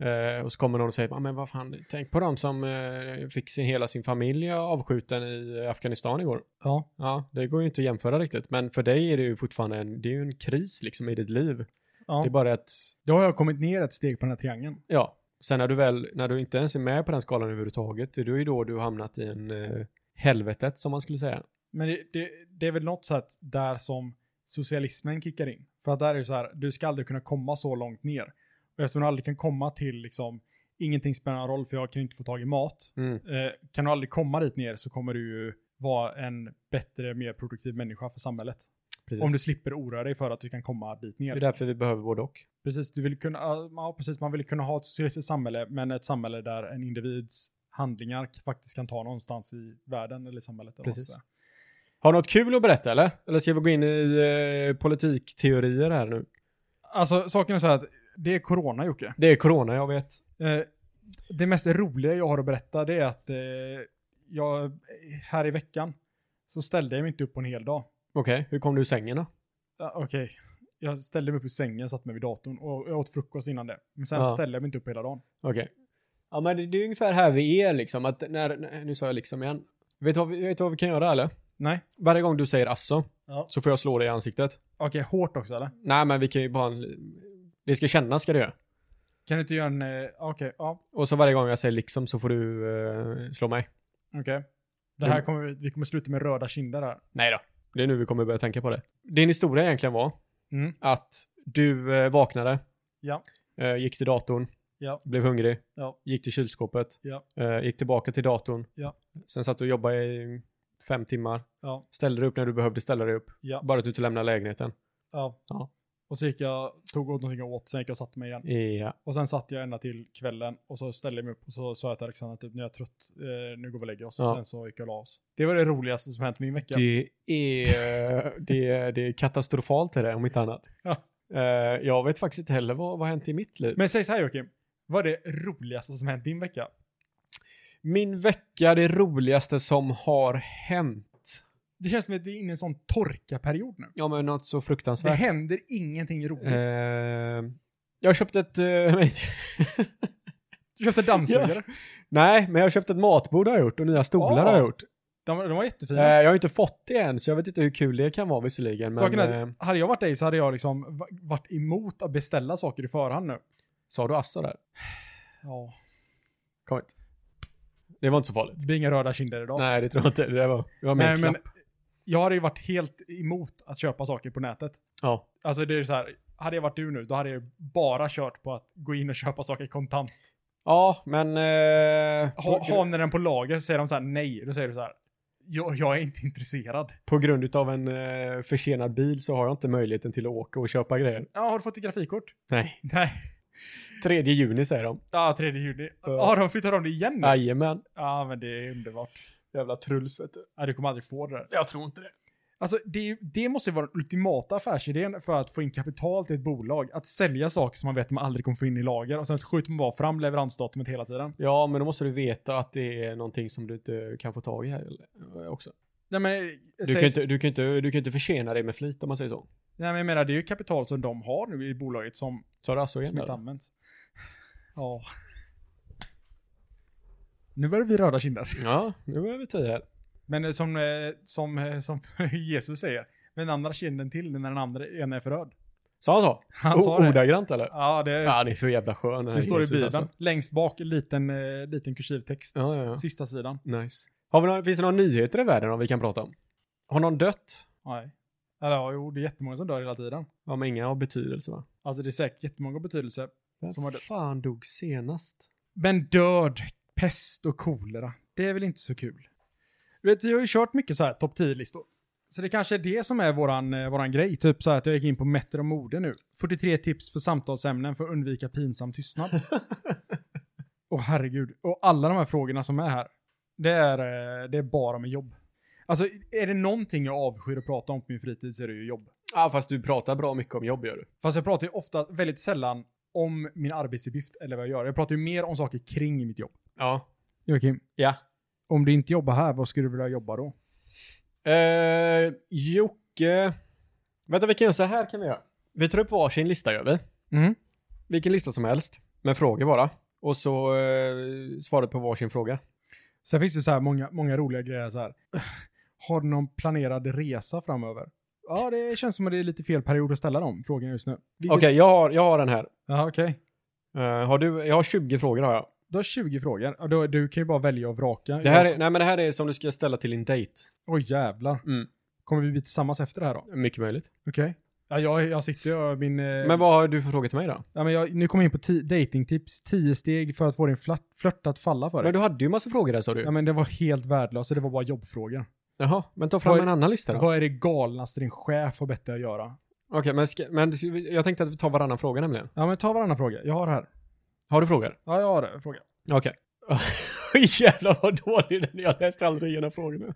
eh, och så kommer någon och säger "Ah, men vad fan, tänk på dem som eh, fick sin, hela sin familj avskjuten i Afghanistan igår. Ja. Ja, det går ju inte att jämföra riktigt, men för dig är det ju fortfarande en, det är ju en kris liksom i ditt liv. ja. Det är bara att, Då har jag kommit ner ett steg på den här triangeln. ja, sen när du väl, när du inte ens är med på den skalan överhuvudtaget, det är ju då du har hamnat i en eh, helvetet som man skulle säga. Men det, det, det är väl något sätt där som socialismen kickar in. För att där är det så här, du ska aldrig kunna komma så långt ner. Och eftersom du aldrig kan komma till liksom, ingenting spelar någon roll för jag kan inte få tag i mat. Mm. Eh, kan du aldrig komma dit ner så kommer du ju vara en bättre, mer produktiv människa för samhället. Precis. Om du slipper oroa dig för att du kan komma dit det ner. liksom. är därför vi behöver både och. Precis, du vill kunna, ja, precis, man vill kunna ha ett socialistiskt samhälle, men ett samhälle där en individs handlingar faktiskt kan ta någonstans i världen eller i samhället. Eller vad man Precis. ska säga. Har du något kul att berätta eller? Eller ska vi gå in i eh, politikteorier här nu? Alltså, saken är så här att det är corona, Jocke. Det är corona, jag vet. Eh, det mest roliga jag har att berätta det är att eh, jag, här i veckan så ställde jag mig inte upp på en hel dag. Okej, hur kom du ur sängen då? Ja, Okej, jag ställde mig upp i sängen, satt mig vid datorn och jag åt frukost innan det. Men sen Ja. så ställde jag mig inte upp hela dagen. Okej. Ja, men det, det är ungefär här vi är liksom, att när, nej, nu sa jag liksom igen. Vet du vad vi, vet du vad vi kan göra eller? Nej. Varje gång du säger asså, Ja. så får jag slå dig i ansiktet. Okej, hårt också eller? Nej, men vi kan ju bara... Det ska kännas ska det göra. Kan du inte göra en, eh, okej, ja, Och så varje gång jag säger liksom så får du eh, slå mig. okej. Det här Mm. kommer, vi- vi kommer sluta med röda kinder här. Nej då. Det är nu vi kommer börja tänka på det. Din historia egentligen var Mm. att du eh, vaknade, Ja. eh, gick till datorn, Ja. blev hungrig, Ja. gick till kylskåpet, Ja. eh, gick tillbaka till datorn, Ja. sen satt du och jobbade i fem timmar, Ja. ställde dig upp när du behövde ställa dig upp, Ja. bara att du inte lämnar lägenheten. Ja. Ja. Och så gick jag, tog åt någonting jag åt, sen gick jag och satte mig igen. Ja. Och sen satt jag ända till kvällen och så ställde jag mig upp och så sa jag till Alexander typ nu är jag trött, eh, nu går vi och lägger oss. Ja. Och sen så gick jag och la oss. Det var det roligaste som hänt min vecka. Det, är, det, är, det är katastrofalt är det, om inte annat. Ja. Eh, jag vet faktiskt inte heller vad, vad har hänt i mitt liv. Men säg så här Joakim, vad är det roligaste som hänt din vecka? Min vecka, det roligaste som har hänt. Det känns som att vi är inne i en sån torkaperiod nu. Ja, men något så Det fruktansvärt. händer ingenting roligt. Eh, jag köpte ett... eh, nej. Du köpte dammsugare. nej, men jag har köpt ett matbord har jag gjort och nya stolar Ah, har jag gjort. De, de var jättefina. Eh, jag har ju inte fått det än, så jag vet inte hur kul det kan vara visserligen. Men, Saken är eh, att hade jag varit dig så hade jag liksom va- varit emot att beställa saker i förhand nu. sa du Assa där? Ja. Kom hit. Det var inte så farligt. Det blir inga röda kinder idag. Nej, det tror jag inte. Det där var, det var mer Nej, men klapp. jag hade ju varit helt emot att köpa saker på nätet. Ja. Alltså det är så här, hade jag varit du nu, då hade jag bara kört på att gå in och köpa saker kontant. ja, men... eh, Ha, på, har ni den på lager så säger de så här nej, då säger du så här, jag, jag är inte intresserad. på grund av en eh, försenad bil så har jag inte möjligheten till att åka och köpa grejer. Ja, har du fått ditt grafikkort? Nej. Nej. 3 juni säger de. Ja, 3 juni. Ja, de flyttar om det igen nu. Ja, Jajamän. men det är underbart. Jävla truls vet du. Ja, du kommer aldrig få det där. Jag tror inte det. Alltså det, är ju- det måste ju vara den ultimata affärsidén för att få in kapital till ett bolag. Att sälja saker som man vet att man aldrig kommer få in i lager och sen så skjuter man bara fram leveransdatumet hela tiden. Ja, men då måste du veta att det är någonting som du inte kan få tag i här eller, eh, också. Nej men, eh, Du säg- kan, inte, du, kan inte, du kan inte försena dig med flit om man säger så. nej, men jag menar det är ju kapital som de har nu i bolaget som, Sa du alltså igen? som inte där? används. Ja. Nu börjar vi röda kinder. Ja, nu är vi tio här. Men eh, som, eh, som, eh, som Jesus säger, med den andra kinden till när den andra ena är förröd. Sa han så? Han sa O- det. Ordagrant eller? Ja, det, Oh, Ja, det är för jävla skön. den här det står i Jesus, Bibeln. alltså. Längst bak, liten, eh, liten kursivtext. Ja, ja, Sista sidan. ja. Nice. Har vi några, finns det några nyheter i världen om vi kan prata om? Har någon dött? Nej. Eller ja, jo, det är jättemånga som dör hela tiden. Ja, men inga av betydelse va? Alltså det är säkert jättemånga betydelse. Vem Som har dött. fan dog senast? Men död, pest och kolera, det är väl inte så kul? Du vet, vi har ju kört mycket så här topp 10-listor. Så det kanske är det som är våran, eh, våran grej. Typ så här att jag gick in på Metter och Mode nu. 43 tips för samtalsämnen för att undvika pinsam tystnad. Åh herregud. Och alla de här frågorna som är här. Det är, eh, det är bara med jobb. Alltså, är det någonting jag avskyr att prata om på min fritid så är det ju jobb. Ja, fast du pratar bra mycket om jobb gör du. Fast jag pratar ju ofta, väldigt sällan, om min arbetsuppgift eller vad jag gör. Jag pratar ju mer om saker kring mitt jobb. Ja. Joakim, Ja. om du inte jobbar här, vad skulle du vilja jobba då? Eh, Jocke. Vänta, vi kan göra så här kan vi göra. Vi tar upp varsin lista gör vi. Mm. Vilken lista som helst. Med frågor bara. Och så eh, svaret på varsin fråga. Sen finns det så här många, många roliga grejer så här. Har du någon planerad resa framöver? Ja, det känns som att det är lite fel period att ställa de frågorna just nu. Okej, Vilket- jag, har, jag har den här. Ja, okej. Eh, har du, jag har 20 frågor har jag. Du har 20 frågor. Ja, då- Du kan ju bara välja och vraka. Det här, är, nej, men det här är som du ska ställa till din dejt. Oj, jävlar. Mm. Kommer vi bli tillsammans efter det här då? Mycket möjligt. Okej. Ja, jag, jag sitter ju och min... eh, Men vad har du för frågor till mig då? Ja, men jag, nu kommer jag in på ti- datingtips. 10 steg för att få din flört, flört att falla för dig. Men du hade ju massa frågor där sa du. Ja, men det var helt värdelöst. Det var bara jobbfrågor. Jaha, men ta fram Vad- en annan lista då. Vad är det galnaste din chef har bett dig att göra? Okej, men, ska, men jag tänkte att vi tar varannan fråga nämligen. Ja, men ta varannan fråga. Jag har det här. Har du frågor? Ja, jag har det. Fråga. Okej. Jävlar vad dålig den är. Jag läste aldrig igenom frågorna.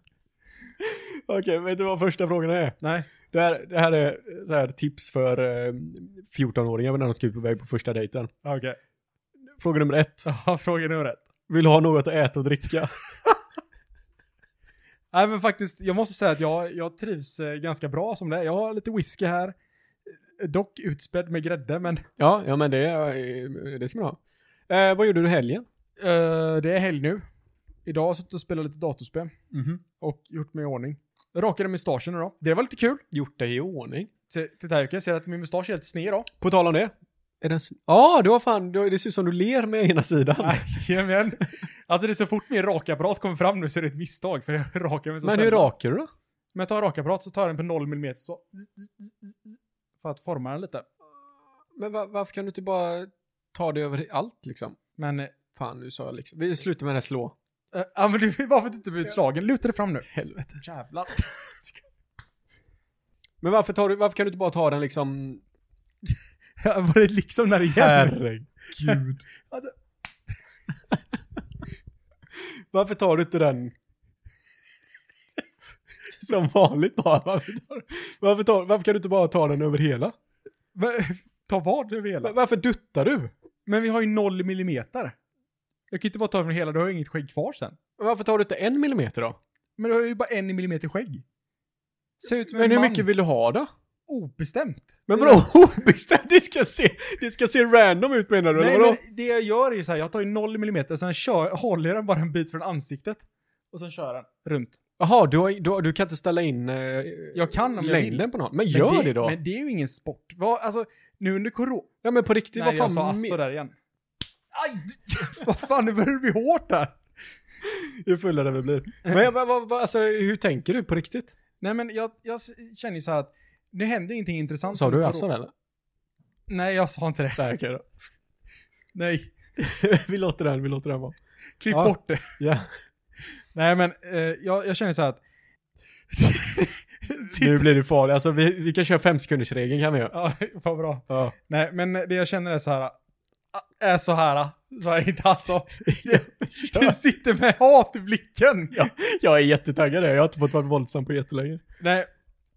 Okej, vet du vad första frågan är? Nej. Det här, det här är så här tips för eh, 14-åringar när de ska ut på väg på första dejten. Ja, Okej. Fråga nummer ett. Ja, fråga nummer ett. Vill du ha något att äta och dricka? Nej, men faktiskt, jag måste säga att jag, jag trivs eh, ganska bra som det är. Jag har lite whisky här. Eh, Dock utspädd med grädde, men ja, ja men det, eh, det ska man ha. Eh, vad gjorde du i helgen? eh, det är helg nu. Idag har jag suttit och spelat lite datorspel och gjort mig i ordning. Jag rakade mustaschen idag. Det var lite kul. Gjort dig i ordning. Se- Titta här, Jocke. jag ser att min mustasch är helt sned idag. På tal om det. Är den... s- Ja, du har fan, du, det ser ut som du ler med ena sidan. Jajamän. Alltså det är så fort min rakapparat kommer fram nu så är det ett misstag för jag rakar mig så men hur sällan. rakar du då? Om jag tar en rakapparat så tar jag den på 0 mm så. För att forma den lite. Men va- varför kan du inte bara ta det över allt liksom? Men, eh, Fan, nu sa jag liksom. Vi slutar med det här slå. ja men du, varför inte bli utslagen? Luta dig fram nu. Helvete. Jävlar. Men varför, tar du, varför kan du inte bara ta den liksom... Var det liksom när det gäller? Herregud. varför tar du inte den... Som vanligt bara. Varför, tar, varför, tar, varför kan du inte bara ta den över hela? Va- Ta vad över hela? Va- Varför duttar du? Men vi har ju 0 mm. Jag kan inte bara ta från hela, du har ju inget skägg kvar sen. Varför tar du inte en millimeter då? Men du har ju bara en millimeter skägg. Ser ut som Men en hur man. mycket vill du ha då? Obestämt. Men vadå Mm. obestämt? Det ska se, det ska se random ut menar du? eller Nej, vadå? men det jag gör är ju så här, jag tar ju 0 mm, sen kör, håller jag den bara en bit från ansiktet. Och sen kör jag den runt. Jaha, du, har- du, har- du kan inte ställa in eh, Jag kan om jag längden vill. på något. Men Men gör det, då. Men det är ju ingen sport. Vad, alltså, nu under corona... ja men på riktigt, Nej, vad jag fan... sa me- asså där igen. Aj! vad fan, nu börjar det bli hårt där. Ju fullare vi blir. Men jag- vad, vad, vad, alltså, hur tänker du på riktigt? Nej, men jag, jag s- känner ju så här att det händer ingenting intressant. Sa under du corona. asså eller? Nej, jag sa inte det. Nej, okej då. Nej, vi låter den, vi låter den vara. klipp Ja. bort det. Ja. Nej, men eh, jag, jag känner så här att... Nu blir det farligt. Alltså vi, vi kan köra fem sekunders regeln kan vi göra. Ja, vad bra. Ja. Nej, men det jag känner är så här. ah, Är så här. Så här inte alltså. Du sitter med hat i blicken. Ja. Jag är jättetaggad, jag har inte fått vara våldsam på jättelänge. Nej,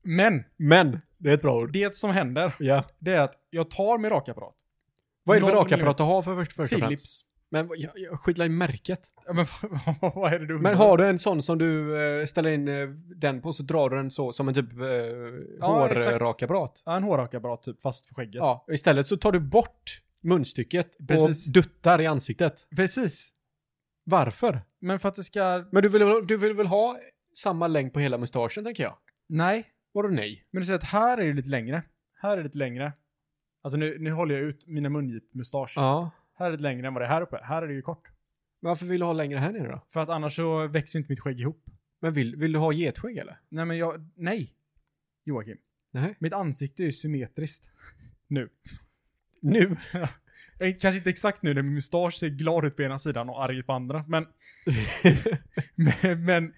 men Men, det är ett bra ord. det som händer, Ja. det är att jag tar min rakapparat. Vad är det för Noll rakapparat att ha för först först och främst? Philips. Men vad- jag, jag skitlar i märket. Ja, men vad- vad, vad är det du undrar? Men har du en sån som du eh, ställer in eh, den på så drar du den så som en typ eh, exakt. hårrakapparat? Ja, en hårrakapparat typ, fast för skägget. Ja, och istället så tar du bort munstycket Precis. och duttar i ansiktet. Precis. Varför? Men för att det ska... Men du vill, du vill väl ha samma längd på hela mustaschen tänker jag? Nej. Vadå nej? Men du säger att här är det lite längre. Här är det lite längre. Alltså nu, nu håller jag ut mina mungipmustasch. Ja. Här är det längre än vad det är här uppe. Här är det ju kort. Varför vill du ha längre här nere då? För att annars så växer ju inte mitt skägg ihop. Men vill, vill du ha getskägg eller? Nej, men jag... Nej! Joakim. Nej. Mitt ansikte är ju symmetriskt. Nu. Nu? Eh, Kanske inte exakt nu när min mustasch ser glad ut på ena sidan och arg på andra, men... men, men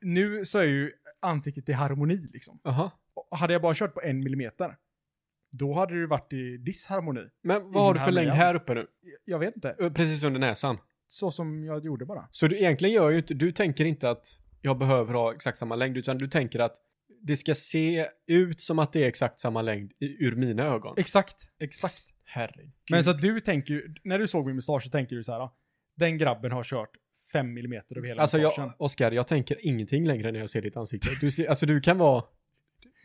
nu så är ju ansiktet i harmoni liksom. Jaha. Och hade jag bara kört på en millimeter, då hade det ju varit i disharmoni. Men vad har du för Ingen längd alls. här uppe nu? Jag vet inte. Ö, Precis under näsan. så som jag gjorde bara. Så du egentligen gör ju inte, du tänker inte att jag behöver ha exakt samma längd, utan du tänker att det ska se ut som att det är exakt samma längd i, ur mina ögon. Exakt, exakt. Herregud. Men så att du tänker ju, när du såg min mustasch så tänkte du så här, ah, den grabben har kört 5 millimeter över hela Alltså jag, mustaschen. Oskar, jag tänker ingenting längre när jag ser ditt ansikte. Du ser, alltså du kan vara,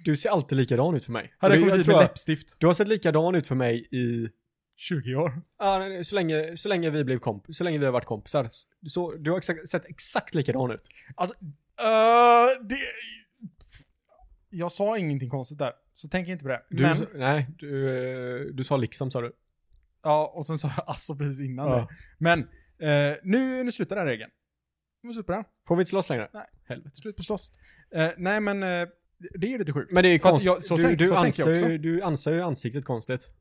du ser alltid likadan ut för mig. Hade jag Och det- kommit hit tror med jag- läppstift, Du har sett likadan ut för mig i 20 år. Ja, nej, nej, så länge, så länge vi blev komp- så länge vi har varit kompisar. Så, du har exakt, sett exakt likadan ut. Alltså, eh, det... Jag sa ingenting konstigt där, så tänk inte på det. Du, Men, Nej, du, eh, du sa liksom sa du. ja, och sen sa jag alltså precis innan Ja. det. Men, eh, nu, nu slutar den regeln. Nu slutar den. Får vi inte slåss längre? Nej. Helvete. Slut på slåss. Eh, nej, men eh, det är ju lite sjukt. Men det är För att konstigt. jag- så du, tänk- du, så tänker jag anser, ju- du anser ju ansiktet konstigt.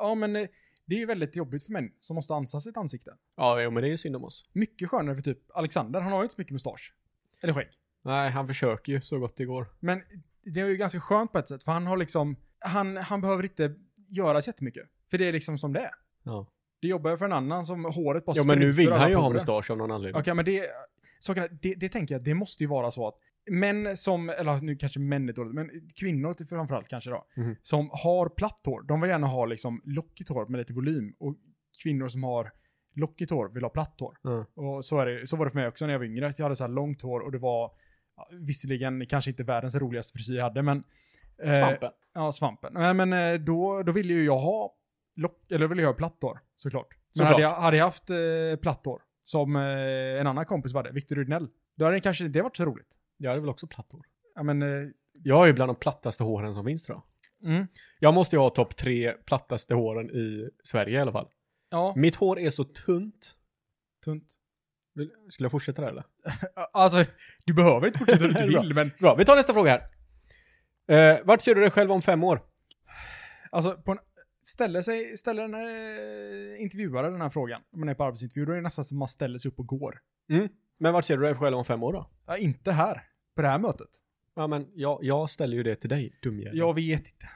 Ja, men eh, det är ju väldigt jobbigt för män som måste ansa sitt ansikte. Ja, jo, men det är ju synd om oss. Mycket skönare för typ Alexander, han har ju inte så mycket mustasch. Eller skägg. Nej, han försöker ju så gott det går. Men det är ju ganska skönt på ett sätt, för han har liksom, han, han behöver inte göra så jättemycket. För det är liksom som det är. Ja. Det jobbar för en annan som håret bara Ja, men nu sprutar vill alla han ju ha porer. mustasch av någon anledning. Okej, men det, sakerna, det, det tänker jag, det måste ju vara så att män som, eller nu kanske män är dåligt, men kvinnor till framförallt kanske då, Mhm. som har platt hår, de vill gärna ha liksom lockigt hår med lite volym. Och kvinnor som har lockigt hår vill ha platt hår. Ja. Och så, är det, så var det för mig också när jag var yngre, att jag hade så här långt hår och det var, ja, visserligen kanske inte världens roligaste frisyr jag hade, men... eh, Svampen. Ja, svampen. Nej, men eh, då, då ville ju jag ha lock, eller ville jag ha plattor, såklart. Men Såklart. hade jag, hade jag haft eh, plattor, som eh, en annan kompis hade, Victor Rydnell, då hade det kanske inte varit så roligt. Jag hade väl också platt hår. Ja, men, eh, Jag är ju bland de plattaste håren som finns tror jag. mm. Jag måste ju ha topp tre plattaste håren i Sverige i alla fall. Ja, Mitt hår är så tunt. tunt. Vill- Skulle jag fortsätta där eller? Alltså, du behöver inte fortsätta om du inte Bra. vill, men Bra, vi tar nästa fråga här. Eh, vart ser du dig själv om fem år? Alltså, på en, ställer, sig, ställer den här eh, intervjuaren den här frågan, om man är på arbetsintervju, då är det nästan som man ställer sig upp och går. Men vart ser du dig själv om fem år då? Ja, inte här, på det här mötet. Ja, men jag, jag ställer ju det till dig, dumjävel. Jag vet inte.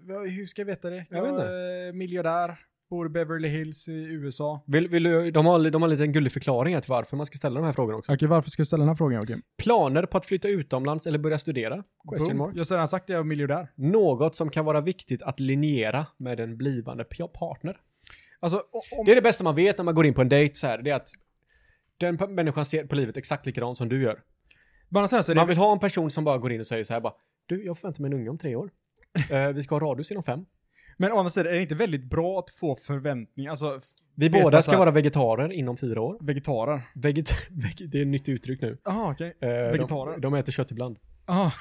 Vad- Hur ska jag veta det? Jag vet inte. är miljardär, bor i Beverly Hills i USA. Vill, vill du, de, har, de har en liten gullig förklaring här till varför man ska ställa de här frågorna också. Okej, varför ska du ställa den här frågan, Joakim? Planer på att flytta utomlands eller börja studera? Question mark. Jag har redan sagt att jag är miljardär. Något som kan vara viktigt att linjera med en blivande p- partner. Alltså, o- om, Det är det bästa man vet när man går in på en dejt så här, det är att den p- människan ser på livet exakt likadant som du gör. bara så här, så är det, Man vill ha en person som bara går in och säger så här bara, du, jag förväntar mig en unge om tre år. Eh, vi ska ha radhus inom fem. men å andra sidan är det inte väldigt bra att få förväntningar, alltså f- Vi Veta båda så ska här- vara vegetarer inom fyra år. vegetarer. Veget, veg, det är ett nytt uttryck nu. Jaha, okej. Eh, Vegetarer. De, de äter kött ibland. Ja. Ah.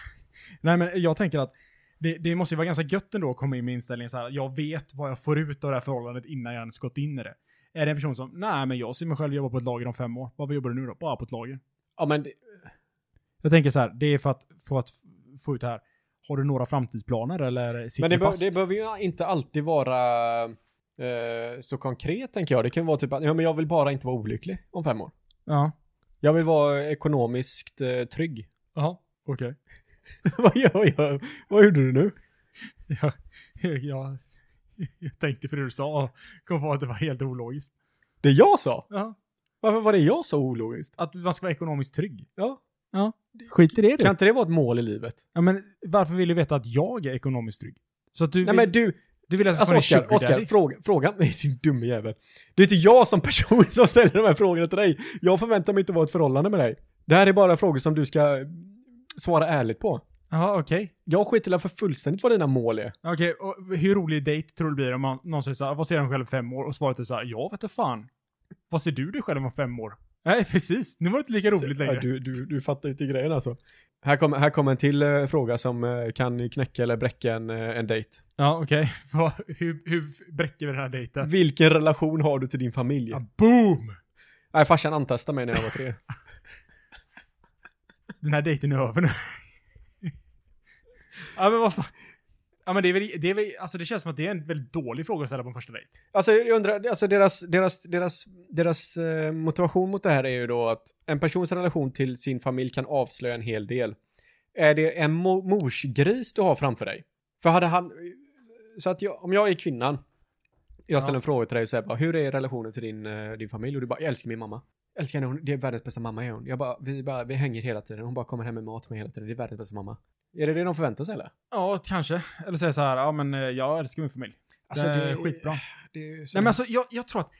Nej, men jag tänker att det, det måste ju vara ganska gött ändå att komma in med inställningen så här. Jag vet vad jag får ut av det här förhållandet innan jag ens gått in i det. Är det en person som, nej men jag ser mig själv jobba på ett lager om fem år. Vad jobbar du nu då? Bara på ett lager. Ja, men det- Jag tänker så här, det är för att, för att få ut det här. Har du några framtidsplaner eller sitter Men det, du be- fast? det behöver ju inte alltid vara eh, så konkret tänker jag. Det kan vara typ att ja, men jag vill bara inte vara olycklig om fem år. ja. Jag vill vara ekonomiskt eh, trygg. Jaha, okej. vad gör jag? Vad gjorde du nu? Jag, jag, jag tänkte för det du sa och kom på att det var helt ologiskt. Det jag sa? Ja. Varför var det jag så ologiskt? Att man ska vara ekonomiskt trygg. Ja. Skit i det Kan inte det vara ett mål i livet? Ja, men varför vill du veta att jag är ekonomiskt trygg? Så att du Nej vill... men du, Du vill alltså, alltså få en Oskar, sugar Oskar daddy? fråga, fråga mig din dumme jävel. Det är inte jag som person som ställer de här frågorna till dig. Jag förväntar mig inte vara i ett förhållande med dig. Det här är bara frågor som du ska svara ärligt på. Jaha, okej. Jag skiter i för fullständigt vad dina mål är. Okej, och hur rolig dejt tror du blir om man, någon säger så här, vad ser han själv om fem år? Och svaret är så här, jag vet inte fan. Vad ser du dig själv om fem år? Nej, precis. Nu var det inte lika roligt längre. Ja, du, du, du fattar ju inte grejen alltså. Här kommer, här kommer en till eh, fråga som eh, kan knäcka eller bräcka en, eh, en dejt. Ja, okej. Vad- Hur, hur bräcker vi den här dejten? Vilken relation har du till din familj? Ja, boom! Nej, farsan antastade mig när jag var tre. Den här dejten är över nu. ja, men vad fan. Ja, men det är väl, det är väl, alltså det känns som att det är en väldigt dålig fråga att ställa på en första dejt. alltså jag undrar, alltså deras, deras, deras, deras eh, motivation mot det här är ju då att en persons relation till sin familj kan avslöja en hel del. Är det en mo- morsgris du har framför dig? För hade han, så att jag, om jag är kvinnan Jag ställer Ja. en fråga till dig och säger bara, hur är relationen till din, eh, din familj? Och du bara, jag älskar min mamma. Jag älskar henne, hon, det är världens bästa mamma är hon. Jag bara, vi, bara, vi hänger hela tiden. Hon bara kommer hem med mat med hela tiden. Det är världens bästa mamma. Är det det de förväntar sig eller? Ja, kanske. Eller säga så här, ja men eh, jag älskar min familj. Alltså, det, det- är skitbra. Det är Nej men alltså jag, jag tror att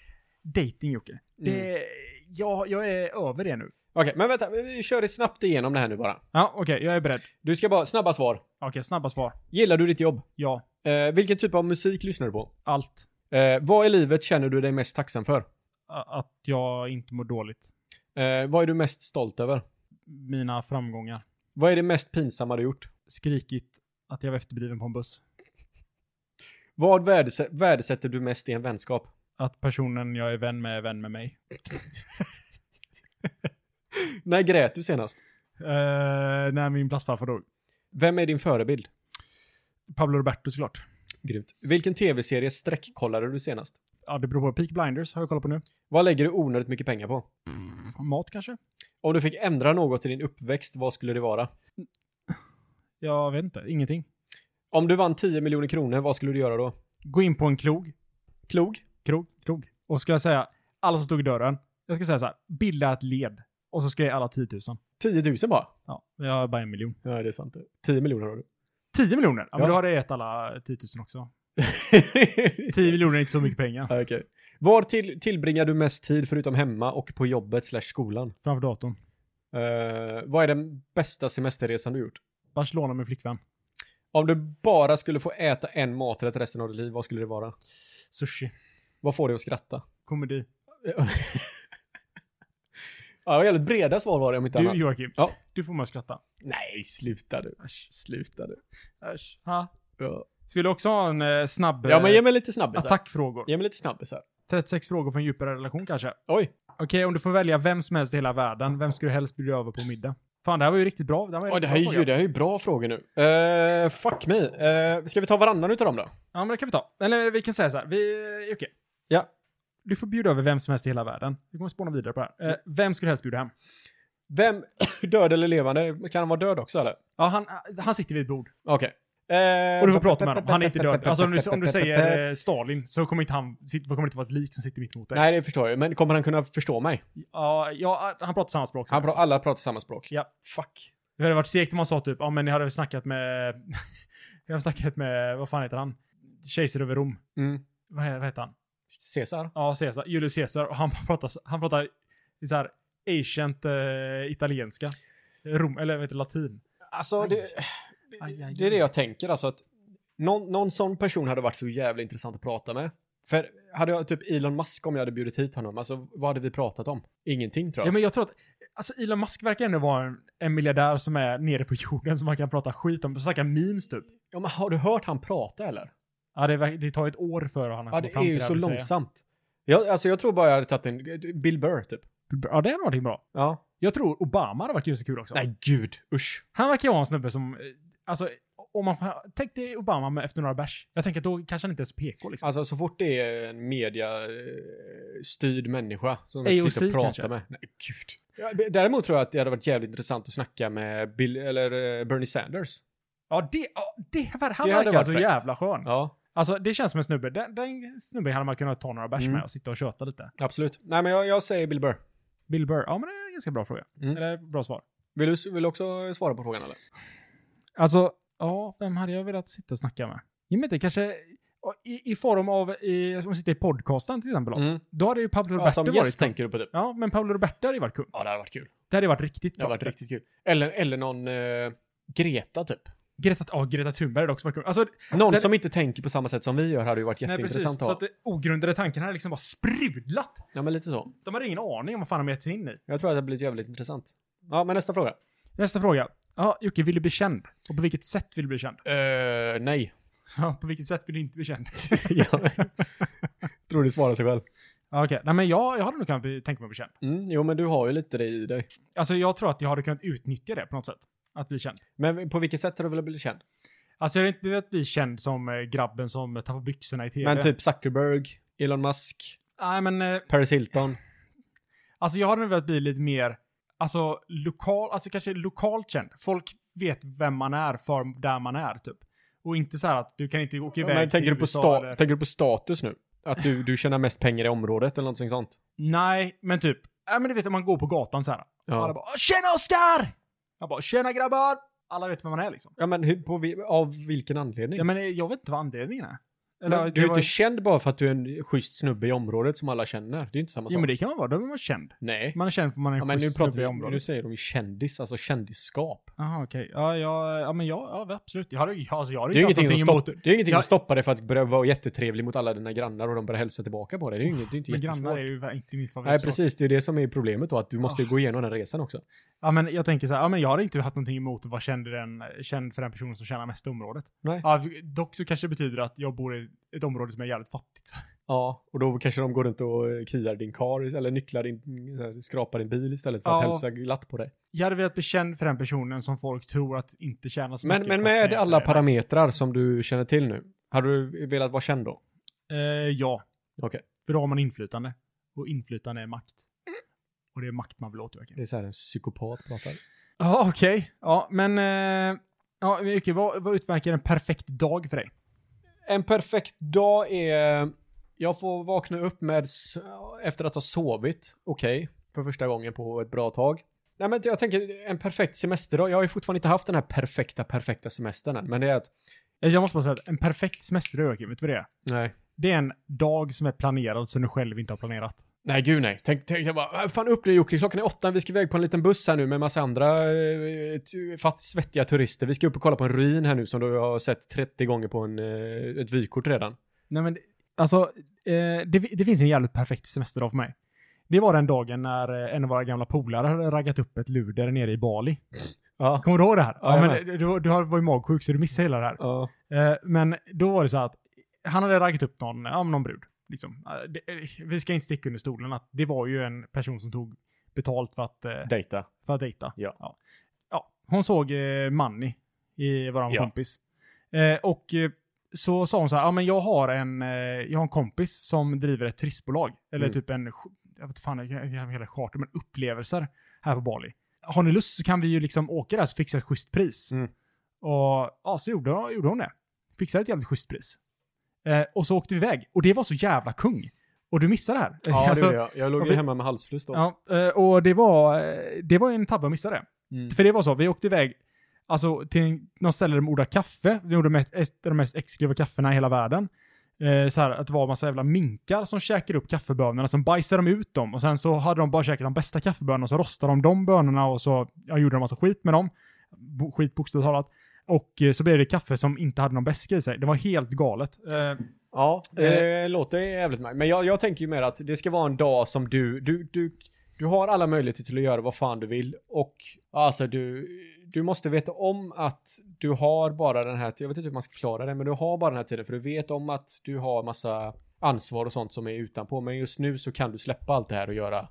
dating Jocke, det, Mm. jag, jag är över det nu. Okej, men vänta, vi- vi kör det snabbt igenom det här nu bara. Ja, okej, jag är beredd. Du ska bara, snabba svar. Okej, snabba svar. Gillar du ditt jobb? Ja, Eh, vilken typ av musik lyssnar du på? allt. Eh, vad i livet känner du dig mest tacksam för? A- Att jag inte mår dåligt. Eh, vad är du mest stolt över? Mina framgångar. Vad är det mest pinsamma du gjort? Skrikigt att jag var efterbliven på en buss. Vad värdes- värdesätter du mest i en vänskap? Att personen jag är vän med är vän med mig. När grät du senast? Eh, när min plastfarfar dog. Vem är din förebild? Pablo Roberto såklart. Grymt. Vilken tv-serie sträckkollade du senast? Ja, det beror på. Peak Blinders har jag kollat på nu. Vad lägger du onödigt mycket pengar på? Mat kanske? Om du fick ändra något i din uppväxt, vad skulle det vara? Jag vet inte. Ingenting. Om du vann 10 miljoner kronor, vad skulle du göra då? Gå in på en krog. Klog? Krog. Krog. Och ska jag säga, alla som stod i dörren. Jag ska säga så här, bilda ett led. Och så skrev alla 10 000. 10 000 bara? Ja, jag har bara en miljon. Ja, det är sant. 10 miljoner har du. 10 miljoner? Ja, Ja. men då har det gett alla 10 000 också. 10 miljoner är inte så mycket pengar. Okej. Var till, tillbringar du mest tid förutom hemma och på jobbet slash skolan? Framför datorn. Eh, vad är den bästa semesterresan du gjort? Barcelona med flickvän. Om du bara skulle få äta en maträtt resten av ditt liv, vad skulle det vara? Sushi. Vad får dig att skratta? Komedi. ja, det var jävligt breda svar var det om inte Du annat. Joakim, Ja. du får mig att skratta. Nej, sluta du. Sluta du. Äsch. Ha. Ja, Skulle också ha en eh, snabb ja men ge eh, mig lite snabbisar. attackfrågor. Ge mig lite snabbisar. 36 frågor för en djupare relation kanske. Oj. Okej, om du får välja vem som helst i hela världen, vem skulle du helst bjuda över på middag? Fan, det här var ju riktigt bra. Det här var en Oj, det, riktigt här bra är ju, fråga. det här är ju bra frågor nu. Eh, fuck me. Eh, ska vi ta varannan utav dem då? Ja, men det kan vi ta. Eller vi kan säga så här. Vi, eh, okej. Ja. Du får bjuda över vem som helst i hela världen. Vi kommer spåna vidare på det här. Eh, vem skulle du helst bjuda hem? Vem, död eller levande, kan han vara död också eller? Ja, han, eh, han sitter vid ett bord. Okej. Eh, Och du får prata med honom. Han är inte död. Alltså om du, om du säger eh, Stalin så kommer inte han, sit- kommer inte vara ett lik som sitter mitt emot dig. Nej, det förstår jag ju. Men kommer han kunna förstå mig? Ja, ja, han pratar samma språk. som Han jag pra- alla pratar samma språk. Ja. Fuck. Det hade varit segt om man sa typ, ja men jag hade väl snackat med, jag hade snackat med, vad fan heter han? Kejsar över Rom. Mm. Vad, he- vad heter han? Caesar? Ja, Caesar. Julius Caesar. Och han pratar, han pratar i så här ancient eh, italienska. Rom, eller vad heter det, latin. Alltså, Aj. det, Aj, aj, det är det aj. jag tänker. Alltså att någon, någon sån person hade varit så jävla intressant att prata med. För hade jag typ Elon Musk om jag hade bjudit hit honom, alltså vad hade vi pratat om? Ingenting tror Ja. jag. men jag tror att, alltså Elon Musk verkar ändå vara en, en miljardär som är nere på jorden som man kan prata skit om, snacka memes typ. Ja, men har du hört han prata eller? Ja, det, verk- det tar ju ett år för han att Ja, komma det fram är till ju så vill säga. långsamt. Jag, alltså jag tror bara jag hade tagit en Bill Burr typ. Ja, det är någonting bra. Ja. Jag tror Obama hade varit ju så kul också. Nej gud, usch. Han verkar ju vara en snubbe som, eh, alltså, om man får- tänk dig Obama med efter några bärs. Jag tänker att då kanske han inte är så PK liksom. Alltså så fort det är en mediastyrd människa som AOC sitter och pratar kanske? med. Nej, gud. Ja, b- Däremot tror jag att det hade varit jävligt intressant att snacka med Bill, eller eh, Bernie Sanders. Ja, det, ja, det, han hade verkar varit så fräckt. jävla skön. Ja, Alltså, det känns som en snubbe. Den, den snubben hade man kunnat ta några bärs Mm. med och sitta och köta lite. absolut. Nej, men jag, jag säger Bill Burr. Bill Burr, ja men det är en ganska bra fråga. Mm. Eller bra svar. Vill du, vill du också svara på frågan eller? Alltså, ja, vem hade jag velat sitta och snacka med? Jag vet inte, kanske i, i form av, i, om vi sitter i podcasten till exempel. Mm. Då hade ju Pablo Ja, Roberto som varit gäst kung. tänker du på typ. Ja, men Paolo Roberto hade ju varit kung. Ja, det hade varit kul. Det hade ju varit riktigt Det hade varit riktigt kul. Eller, eller någon eh, Greta typ. Greta, ja, Greta Thunberg hade också varit kung. Alltså, Någon Den- som inte tänker på samma sätt som vi gör hade ju varit nej, precis. jätteintressant Så att att ha. det, ogrundade tanken hade liksom bara sprudlat. Ja, men lite så. De hade ingen aning om vad fan de gett sig in i. Jag tror att det hade blivit jävligt intressant. Ja, men nästa fråga. Nästa fråga. Ja, Jocke, vill du bli känd? Och på vilket sätt vill du bli känd? Eh, nej. Ja, på vilket sätt vill du inte bli känd? ja. Tror du svarar sig själv. Ja, Okej, nej men jag, jag hade nog kunnat bli- tänka mig att bli känd. Mm, jo, men du har ju lite det i dig. Alltså jag tror att jag hade kunnat utnyttja det på något sätt. Att bli känd. Men på vilket sätt har du velat bli känd? Alltså jag hade inte behövt bli känd som eh, grabben som eh, tappar byxorna i tv. Men typ Zuckerberg, Elon Musk, Nej men, eh, Paris Hilton. alltså jag hade nog velat bli lite mer, alltså lokal, alltså kanske lokalt känd. Folk vet vem man är för där man är typ. Och inte så här att du kan inte åka iväg men tänker till du, på USA sta- eller- tänker du på status nu? Att du, du tjänar mest pengar i området eller någonting sånt? Nej, men typ. Nej, men du vet om man går på gatan så här. Ja. Alla bara “Tjena Oskar!” Jag bara “Tjena grabbar!” Alla vet vem man är liksom. Ja, men hur, på, vi- av vilken anledning? Ja, men eh, jag vet inte vad anledningen är. Men Eller, du är det ju inte känd bara för att du är en schysst snubbe i området som alla känner. Det är ju inte samma sak. Jo men det kan man vara, då är man känd. Nej. Man är känd för man är en Ja, men nu schysst pratar snubbe i vi, nu området. säger de ju kändis, alltså kändisskap. Jaha okej. Ja, ja, ja men ja, ja absolut. Jag har, jag- alltså, jag har Det är ju inte haft ingenting, som, någonting stopp, emot det är ju ingenting som Jag- stoppar dig för att börja vara jättetrevlig mot alla dina grannar och de börjar hälsa tillbaka på dig. Det är ju inget, det är inte Men grannar är jättesvårt. ju inte min favorit. Nej, precis. Det är det som är problemet då, att du måste ju Ah. gå igenom den resan också. Ja, men jag tänker så här, ja, men jag har inte haft någonting emot att vara känd, i den, känd för den personen som tjänar mest i området. Nej. Ja, dock så kanske det betyder att jag bor i ett område som är jävligt fattigt. Ja, och då kanske de går runt och eh, kliar din kar eller nycklar din, så här, skrapar din bil istället för att Ja. hälsa glatt på dig. Jag hade velat bli känd för den personen som folk tror att inte tjänar så Men, mycket. men fast med det är- alla det är nice. parametrar som du känner till nu, hade du velat vara känd då? Eh, ja, Okej, för då har man inflytande. Och inflytande är makt. Och det är makt man vill åt, det är så här en psykopat pratar. Ja, okej. Ja, men... Eh, ja, Jocke, vad, vad utmärker en perfekt dag för dig? En perfekt dag är... Jag får vakna upp med... s- Efter att ha sovit, okej. för första gången på ett bra tag. Nej men jag tänker en perfekt semesterdag. Jag har ju fortfarande inte haft den här perfekta, perfekta semestern än. Men det är att... Eh, Jag måste bara säga att en perfekt semesterdag, Joakim, vet du vad det är? Nej. Det är en dag som är planerad som du själv inte har planerat. Nej, gud nej. Tänk, tänk jag bara, "Äh, fan upp nu Jocke, klockan är åtta, vi ska iväg på en liten buss här nu med massa andra eh, tu- fast svettiga turister. Vi ska upp och kolla på en ruin här nu som du har sett 30 gånger på en, eh, ett vykort redan. Nej men, alltså, eh, det, det finns en jävligt perfekt semesterdag för mig. Det var den dagen när eh, en av våra gamla polare hade raggat upp ett luder nere i Bali. Ja. Kommer du ihåg det här? Ja, Ja, jag men du, du har- var ju magsjuk så du missade hela det här. Ja. Eh, men då var det så här att han hade raggat upp någon, ja, men någon brud. Liksom. Eh, det, eh, vi ska inte sticka under stolen att det var ju en person som tog betalt för att, eh, Dejta. för att dejta. Ja. Ja. Ja, Hon såg eh, Manny, i våran Ja. kompis. Eh, och eh, så sa hon så här, ja men jag har en, eh, jag har en kompis som driver ett turistbolag. Eller Mm. typ en, ch- jag vet inte fan, jag kan jag hela charter, men upplevelser här på Bali. Har ni lust så kan vi ju liksom åka där så fixa ett schysst pris. Mm. Och ja, så gjorde, hon- gjorde hon det. Fixade ett jävligt schysst pris. Eh, och så åkte vi iväg. Och det var så jävla kung. Och du missade det här. Ja, Alltså, det gjorde jag. Jag låg och ju vi- hemma med halsfluss då. ja, eh, och det var, eh, det var en tabbe att missa det. Mm. För det var så, vi åkte iväg alltså, till en- något ställe där de odlade kaffe. De gjorde mest- ett av de mest exklusiva kaffena i hela världen. Eh, så här, att det var en massa jävla minkar som käkar upp kaffebönorna, som bajsade de ut dem. Och sen så hade de bara käkat de bästa kaffebönorna, och så rostade de de bönorna och så ja, gjorde de massa skit med dem. Bo, skit bokstavligt talat. Och eh, så blev det kaffe som inte hade någon beska i sig. Det var helt galet. Eh, Ja, det låter jävligt nice. Men jag, jag tänker ju mer att det ska vara en dag som du, du, du, du har alla möjligheter till att göra vad fan du vill och alltså du, du måste veta om att du har bara den här, jag vet inte hur man ska förklara det, men du har bara den här tiden för du vet om att du har massa ansvar och sånt som är utanpå, men just nu så kan du släppa allt det här och göra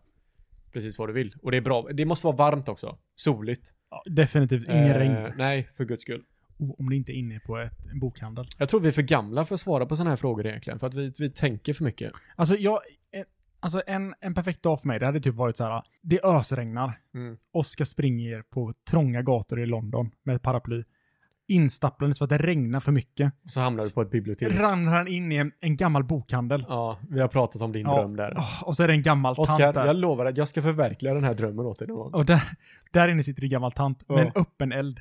precis vad du vill. Och det är bra, det måste vara varmt också, soligt. ja, definitivt ingen Eh, regn. Nej, för guds skull. Oh, om det inte är inne på ett, en bokhandel. Jag tror vi är för gamla för att svara på sådana här frågor egentligen, för att vi, vi tänker för mycket. Alltså, jag, en, alltså en, en perfekt dag för mig, det hade typ varit så här, det ösregnar. Mm. Oskar springer på trånga gator i London med ett paraply. Instapplandes för att det regnar för mycket. Och så hamnar du på ett bibliotek. Ramlar han in i en, en gammal bokhandel. Ja, vi har pratat om din Ja. dröm där. Åh, och så är det en gammal tant Oskar, där. jag lovar att jag ska förverkliga den här drömmen åt dig någon gång. Och där, där inne sitter en gammal tant med en Ja. öppen eld.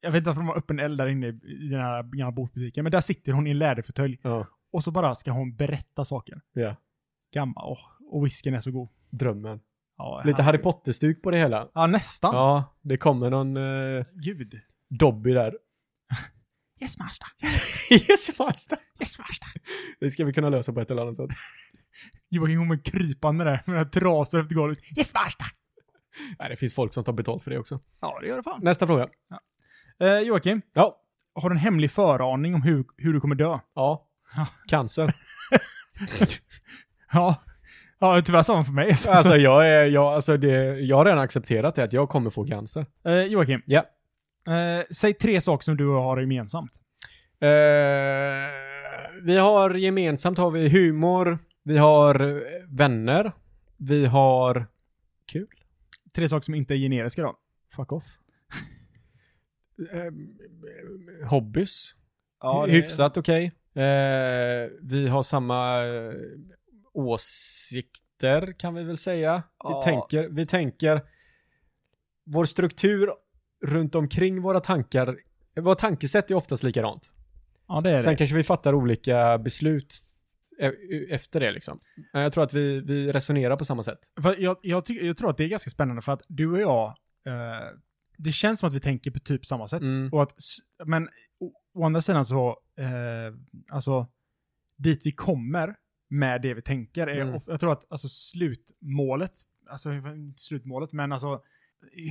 Jag vet inte varför de har öppen eld där inne i- i den här gamla bokbutiken, men där sitter hon i en läderfåtölj. Ja, Och så bara ska hon berätta saker. ja. Gammal, åh, och whiskyn är så god. Drömmen. Ja, Lite här- Harry Potter-stuk på det hela. Ja, nästan. Ja, det kommer någon eh, Gud. Dobby där. Yes master. yes, master. Yes master. Det ska vi kunna lösa på ett eller annat sätt. Joakim kommer krypande där med den här trasor efter golvet. Yes master. Nej, det finns folk som tar betalt för det också. Ja, det gör det fan. Nästa fråga. Eh, Joakim, Ja. har du en hemlig föraning om hur, hur du kommer dö? Ja. Cancer. Ja. Ja, tyvärr samma för mig. Alltså, jag, är, jag, alltså det, jag har redan accepterat det, att jag kommer få cancer. eh, Joakim, Ja. eh, säg tre saker som du och jag har gemensamt. Eh, vi har gemensamt har vi humor, vi har eh, vänner, vi har kul. Tre saker som inte är generiska då. Fuck off. Eh, Hobbys. Ja, Hyfsat okej. Eh, vi har samma eh, åsikter kan vi väl säga. Ja. Vi, tänker, vi tänker, vår struktur runt omkring våra tankar, våra tankesätt är oftast likadant. Ja, det är Sen det. kanske vi fattar olika beslut e- e- efter det liksom. Men Jag tror att vi, vi resonerar på samma sätt. För jag, jag, tycker- jag tror att det är ganska spännande för att du och jag, eh, det känns som att vi tänker på typ samma sätt. Mm. Och att, s- men å, å andra sidan så, eh, alltså, dit vi kommer med det vi tänker, är, Mm. of- jag tror att alltså, slutmålet, alltså inte slutmålet, men alltså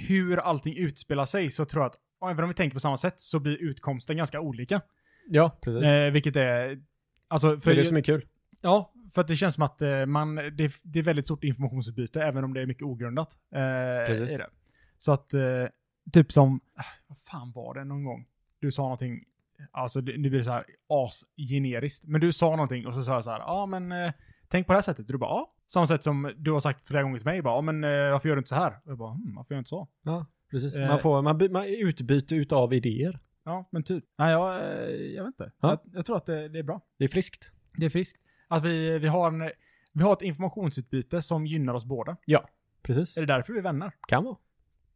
hur allting utspelar sig så tror jag att och även om vi tänker på samma sätt så blir utkomsten ganska olika. Ja, precis. Eh, vilket är, alltså, det för är det som är kul. Ja, för att det känns som att eh, man, det, det är väldigt stort informationsutbyte, även om det är mycket ogrundat. Eh, Precis. är det. Så att, eh, typ som, ah, vad fan var det någon gång? Du sa någonting, alltså det, nu blir det så här asgeneriskt, men du sa någonting och så sa jag så här, ja ah, men eh, tänk på det här sättet. Du bara, ja. Samma sätt som du har sagt flera gånger till mig, bara, ja ah, men eh, varför gör du inte så här? Och jag bara, hm, varför gör jag inte så? Ja, precis. Eh. Man får, man, by- man utbyte utav idéer. Ja, men typ. Nej, jag, eh, jag vet inte. Ja. Jag, jag tror att det, det är bra. Det är friskt. Det är friskt. Att vi, vi, har en, vi har ett informationsutbyte som gynnar oss båda. Precis. Är det därför vi är vänner? Kan vara.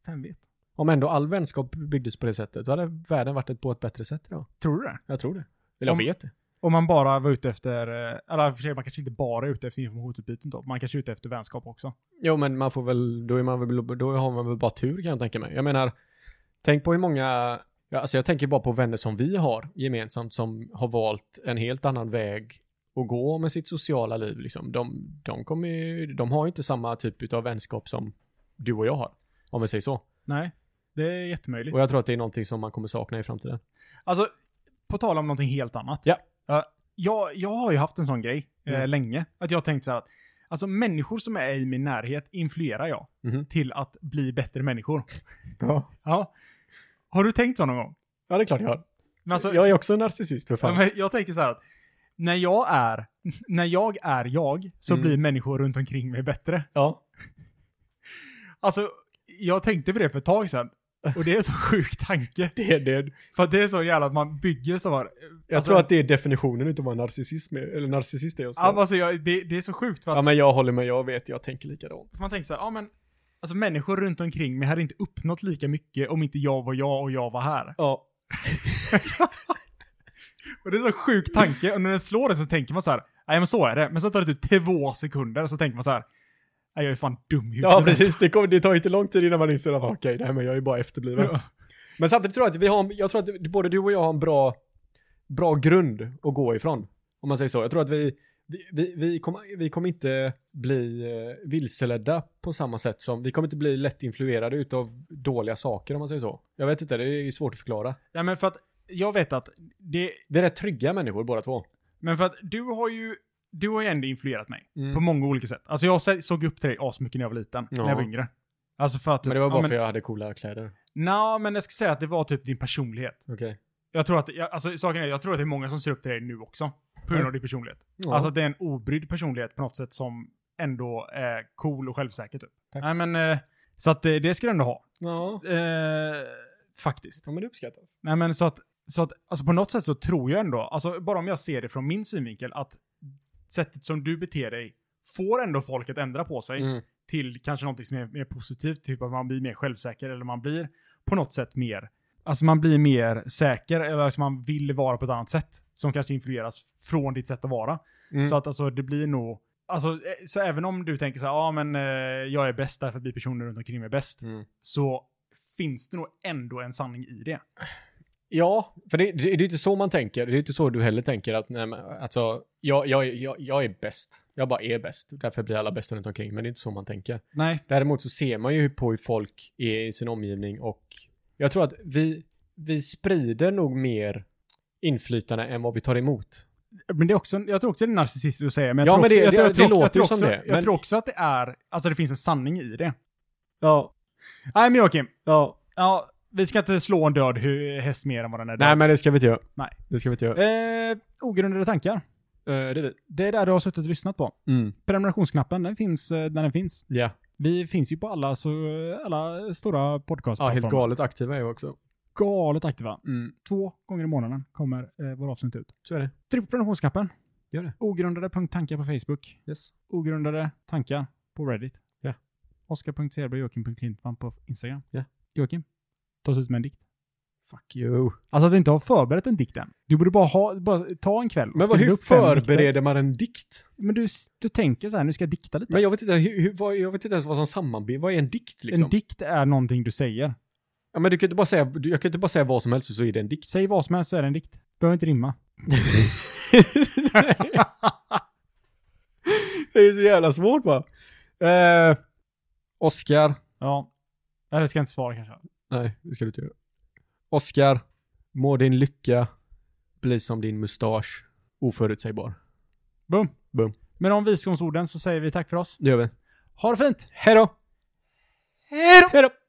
Vem vet? Om ändå all vänskap byggdes på det sättet, då hade världen varit ett- på ett bättre sätt idag. Tror du det? Jag tror det. Eller jag Om- vet det. Om man bara var ute efter, eh, eller i och för sig, man kanske inte bara är ute efter informationsutbyten då. Man kanske är ute efter vänskap också. Jo, men man får väl, då, är man väl, då har man väl bara tur kan jag tänka mig. Jag menar, tänk på hur många, ja, alltså jag tänker bara på vänner som vi har gemensamt som har valt en helt annan väg att gå med sitt sociala liv liksom. De, de, kommer, ju- de har ju inte samma typ av vänskap som du och jag har. Om vi säger så. Nej, det är jättemöjligt. Och jag tror att det är någonting som man kommer sakna i framtiden. Alltså, på tal om någonting helt annat. Ja. Ja, jag, jag har ju haft en sån grej eh, Mm. länge. Att jag har tänkt så här att alltså, människor som är i min närhet influerar jag Mhm. till att bli bättre människor. Ja, Ja. Har du tänkt så någon gång? ja det är klart jag har. Men alltså, jag är också en narcissist, för fan. Ja, men jag tänker så här att när jag är, när jag är jag så Mm. blir människor runt omkring mig bättre. ja. Alltså, jag tänkte på det för ett tag sedan. Och det är en så sjuk tanke. Det, det, För att det är så jävla att man bygger så här. Jag Alltså, tror att det är definitionen utav vad narcissism är, eller narcissist är jag ska. ja, men alltså, jag, det, det är så sjukt för att Ja men jag håller med, jag vet, jag tänker likadant. man tänker så här, ja men, alltså människor runt omkring mig hade inte uppnått lika mycket om inte jag var jag och jag var här. Ja. Och det är en så sjuk tanke, och när den slår det så tänker man så här, nej men så är det. Men så tar det typ två sekunder, och så tänker man så här, nej jag är fan dum i huvudet. Ja precis, det, kommer, det tar ju inte lång tid innan man inser att okej, nej men jag är bara efterbliven. Ja. Men samtidigt tror jag att vi har, jag tror att både du och jag har en bra, bra grund att gå ifrån. Om man säger så. Jag tror att vi, vi, vi, vi, kommer, vi kommer inte bli eh, vilseledda på samma sätt som, vi kommer inte bli lätt influerade utav dåliga saker om man säger så. Jag vet inte, det är svårt att förklara. Ja, men för att jag vet att det, Vi är rätt trygga människor båda två. men för att du har ju, du har ju ändå influerat mig Mm. på många olika sätt. Alltså jag se- såg upp till dig asmycket när jag var liten, Ja. när jag var yngre. Alltså för att... Men det var bara ja, men, för jag hade coola kläder. Nå, men jag ska säga att det var typ din personlighet. Okej. Jag tror att, jag, alltså saken är, jag tror att det är många som ser upp till dig nu också. På grund av din personlighet. Mm. Ja. Alltså att det är en obrydd personlighet på något sätt som ändå är cool och självsäker typ. Tack. Nej men, eh, så att eh, det ska du ändå ha. ja. Eh, faktiskt. Ja, men det uppskattas. Nej men så att, så att alltså på något sätt så tror jag ändå, alltså bara om jag ser det från min synvinkel, att sättet som du beter dig får ändå folk att ändra på sig Mm. till kanske någonting som är mer positivt, typ att man blir mer självsäker eller man blir på något sätt mer, alltså man blir mer säker eller alltså man vill vara på ett annat sätt som kanske influeras från ditt sätt att vara. Mm. Så att alltså det blir nog, alltså eh, så även om du tänker så här, ja ah, men eh, jag är bäst därför att vi personer runt omkring mig är bäst, Mm. så finns det nog ändå en sanning i det. Ja, för det, det, det är inte så man tänker. Det är inte så du heller tänker att nej, men, alltså, jag, jag, är- jag, jag är bäst. Jag bara är bäst. Därför blir alla bäst runt omkring. Men det är inte så man tänker. Nej, Däremot så ser man ju på hur folk är i sin omgivning och jag tror att vi, vi sprider nog mer inflytande än vad vi tar emot. Men det är också, jag tror också det är narcissistiskt att säga, men jag Ja, tror men också, det- jag, det- tror- jag det tror- jag låter tror ju också, som det, Jag men- tror också att det är, alltså det finns en sanning i det. Ja, Nej men Joakim, ja. ja, vi ska inte slå en död hu- häst mer än vad den är Nej, död. men det ska vi inte göra. Nej. Det ska vi inte göra. Eh, ogrundade tankar. Eh, det är vi. Det är där du har suttit och lyssnat på. Mm. Prenumerationsknappen, den finns eh, där den finns. Ja. Vi finns ju på eh, alla, så, alla stora podcast ja, helt galet aktiva är vi också. galet aktiva. Mm, Två gånger i månaden kommer eh, vår avsnitt ut. så är det. Tryck på prenumerationsknappen. Gör det. Ogrundade.tankar på Facebook. Yes. Ogrundade tankar på Reddit. Ja. Oskar.Cederberg och Joakim.Klintman på Instagram. Ja. Joakim, ta oss ut med en dikt. Fuck you. Alltså att du inte har förberett en dikt än. Du borde bara, ha, bara ta en kväll och Men vad, skriva hur upp fem dikter. förbereder man en dikt? Men du, du tänker så här, nu ska jag dikta lite. Men jag vet inte, hur, hur, vad, jag vet inte ens vad som sammanbinder. Vad är en dikt liksom? En dikt är någonting du säger. ja, men du kan inte bara säga, du, jag kan inte bara säga vad som helst och så är det en dikt. Säg vad som helst så är det en dikt. Behöver inte rimma. det är så jävla svårt bara. Eh, Oscar. Ja. Eller ska jag inte svara kanske. Nej, det ska du inte göra. Oscar. Må din lycka bli som din mustasch. Oförutsägbar. Boom. Boom. Men om visdomsorden så säger vi tack för oss. Det gör vi. Ha det fint! Hej då! Hej då!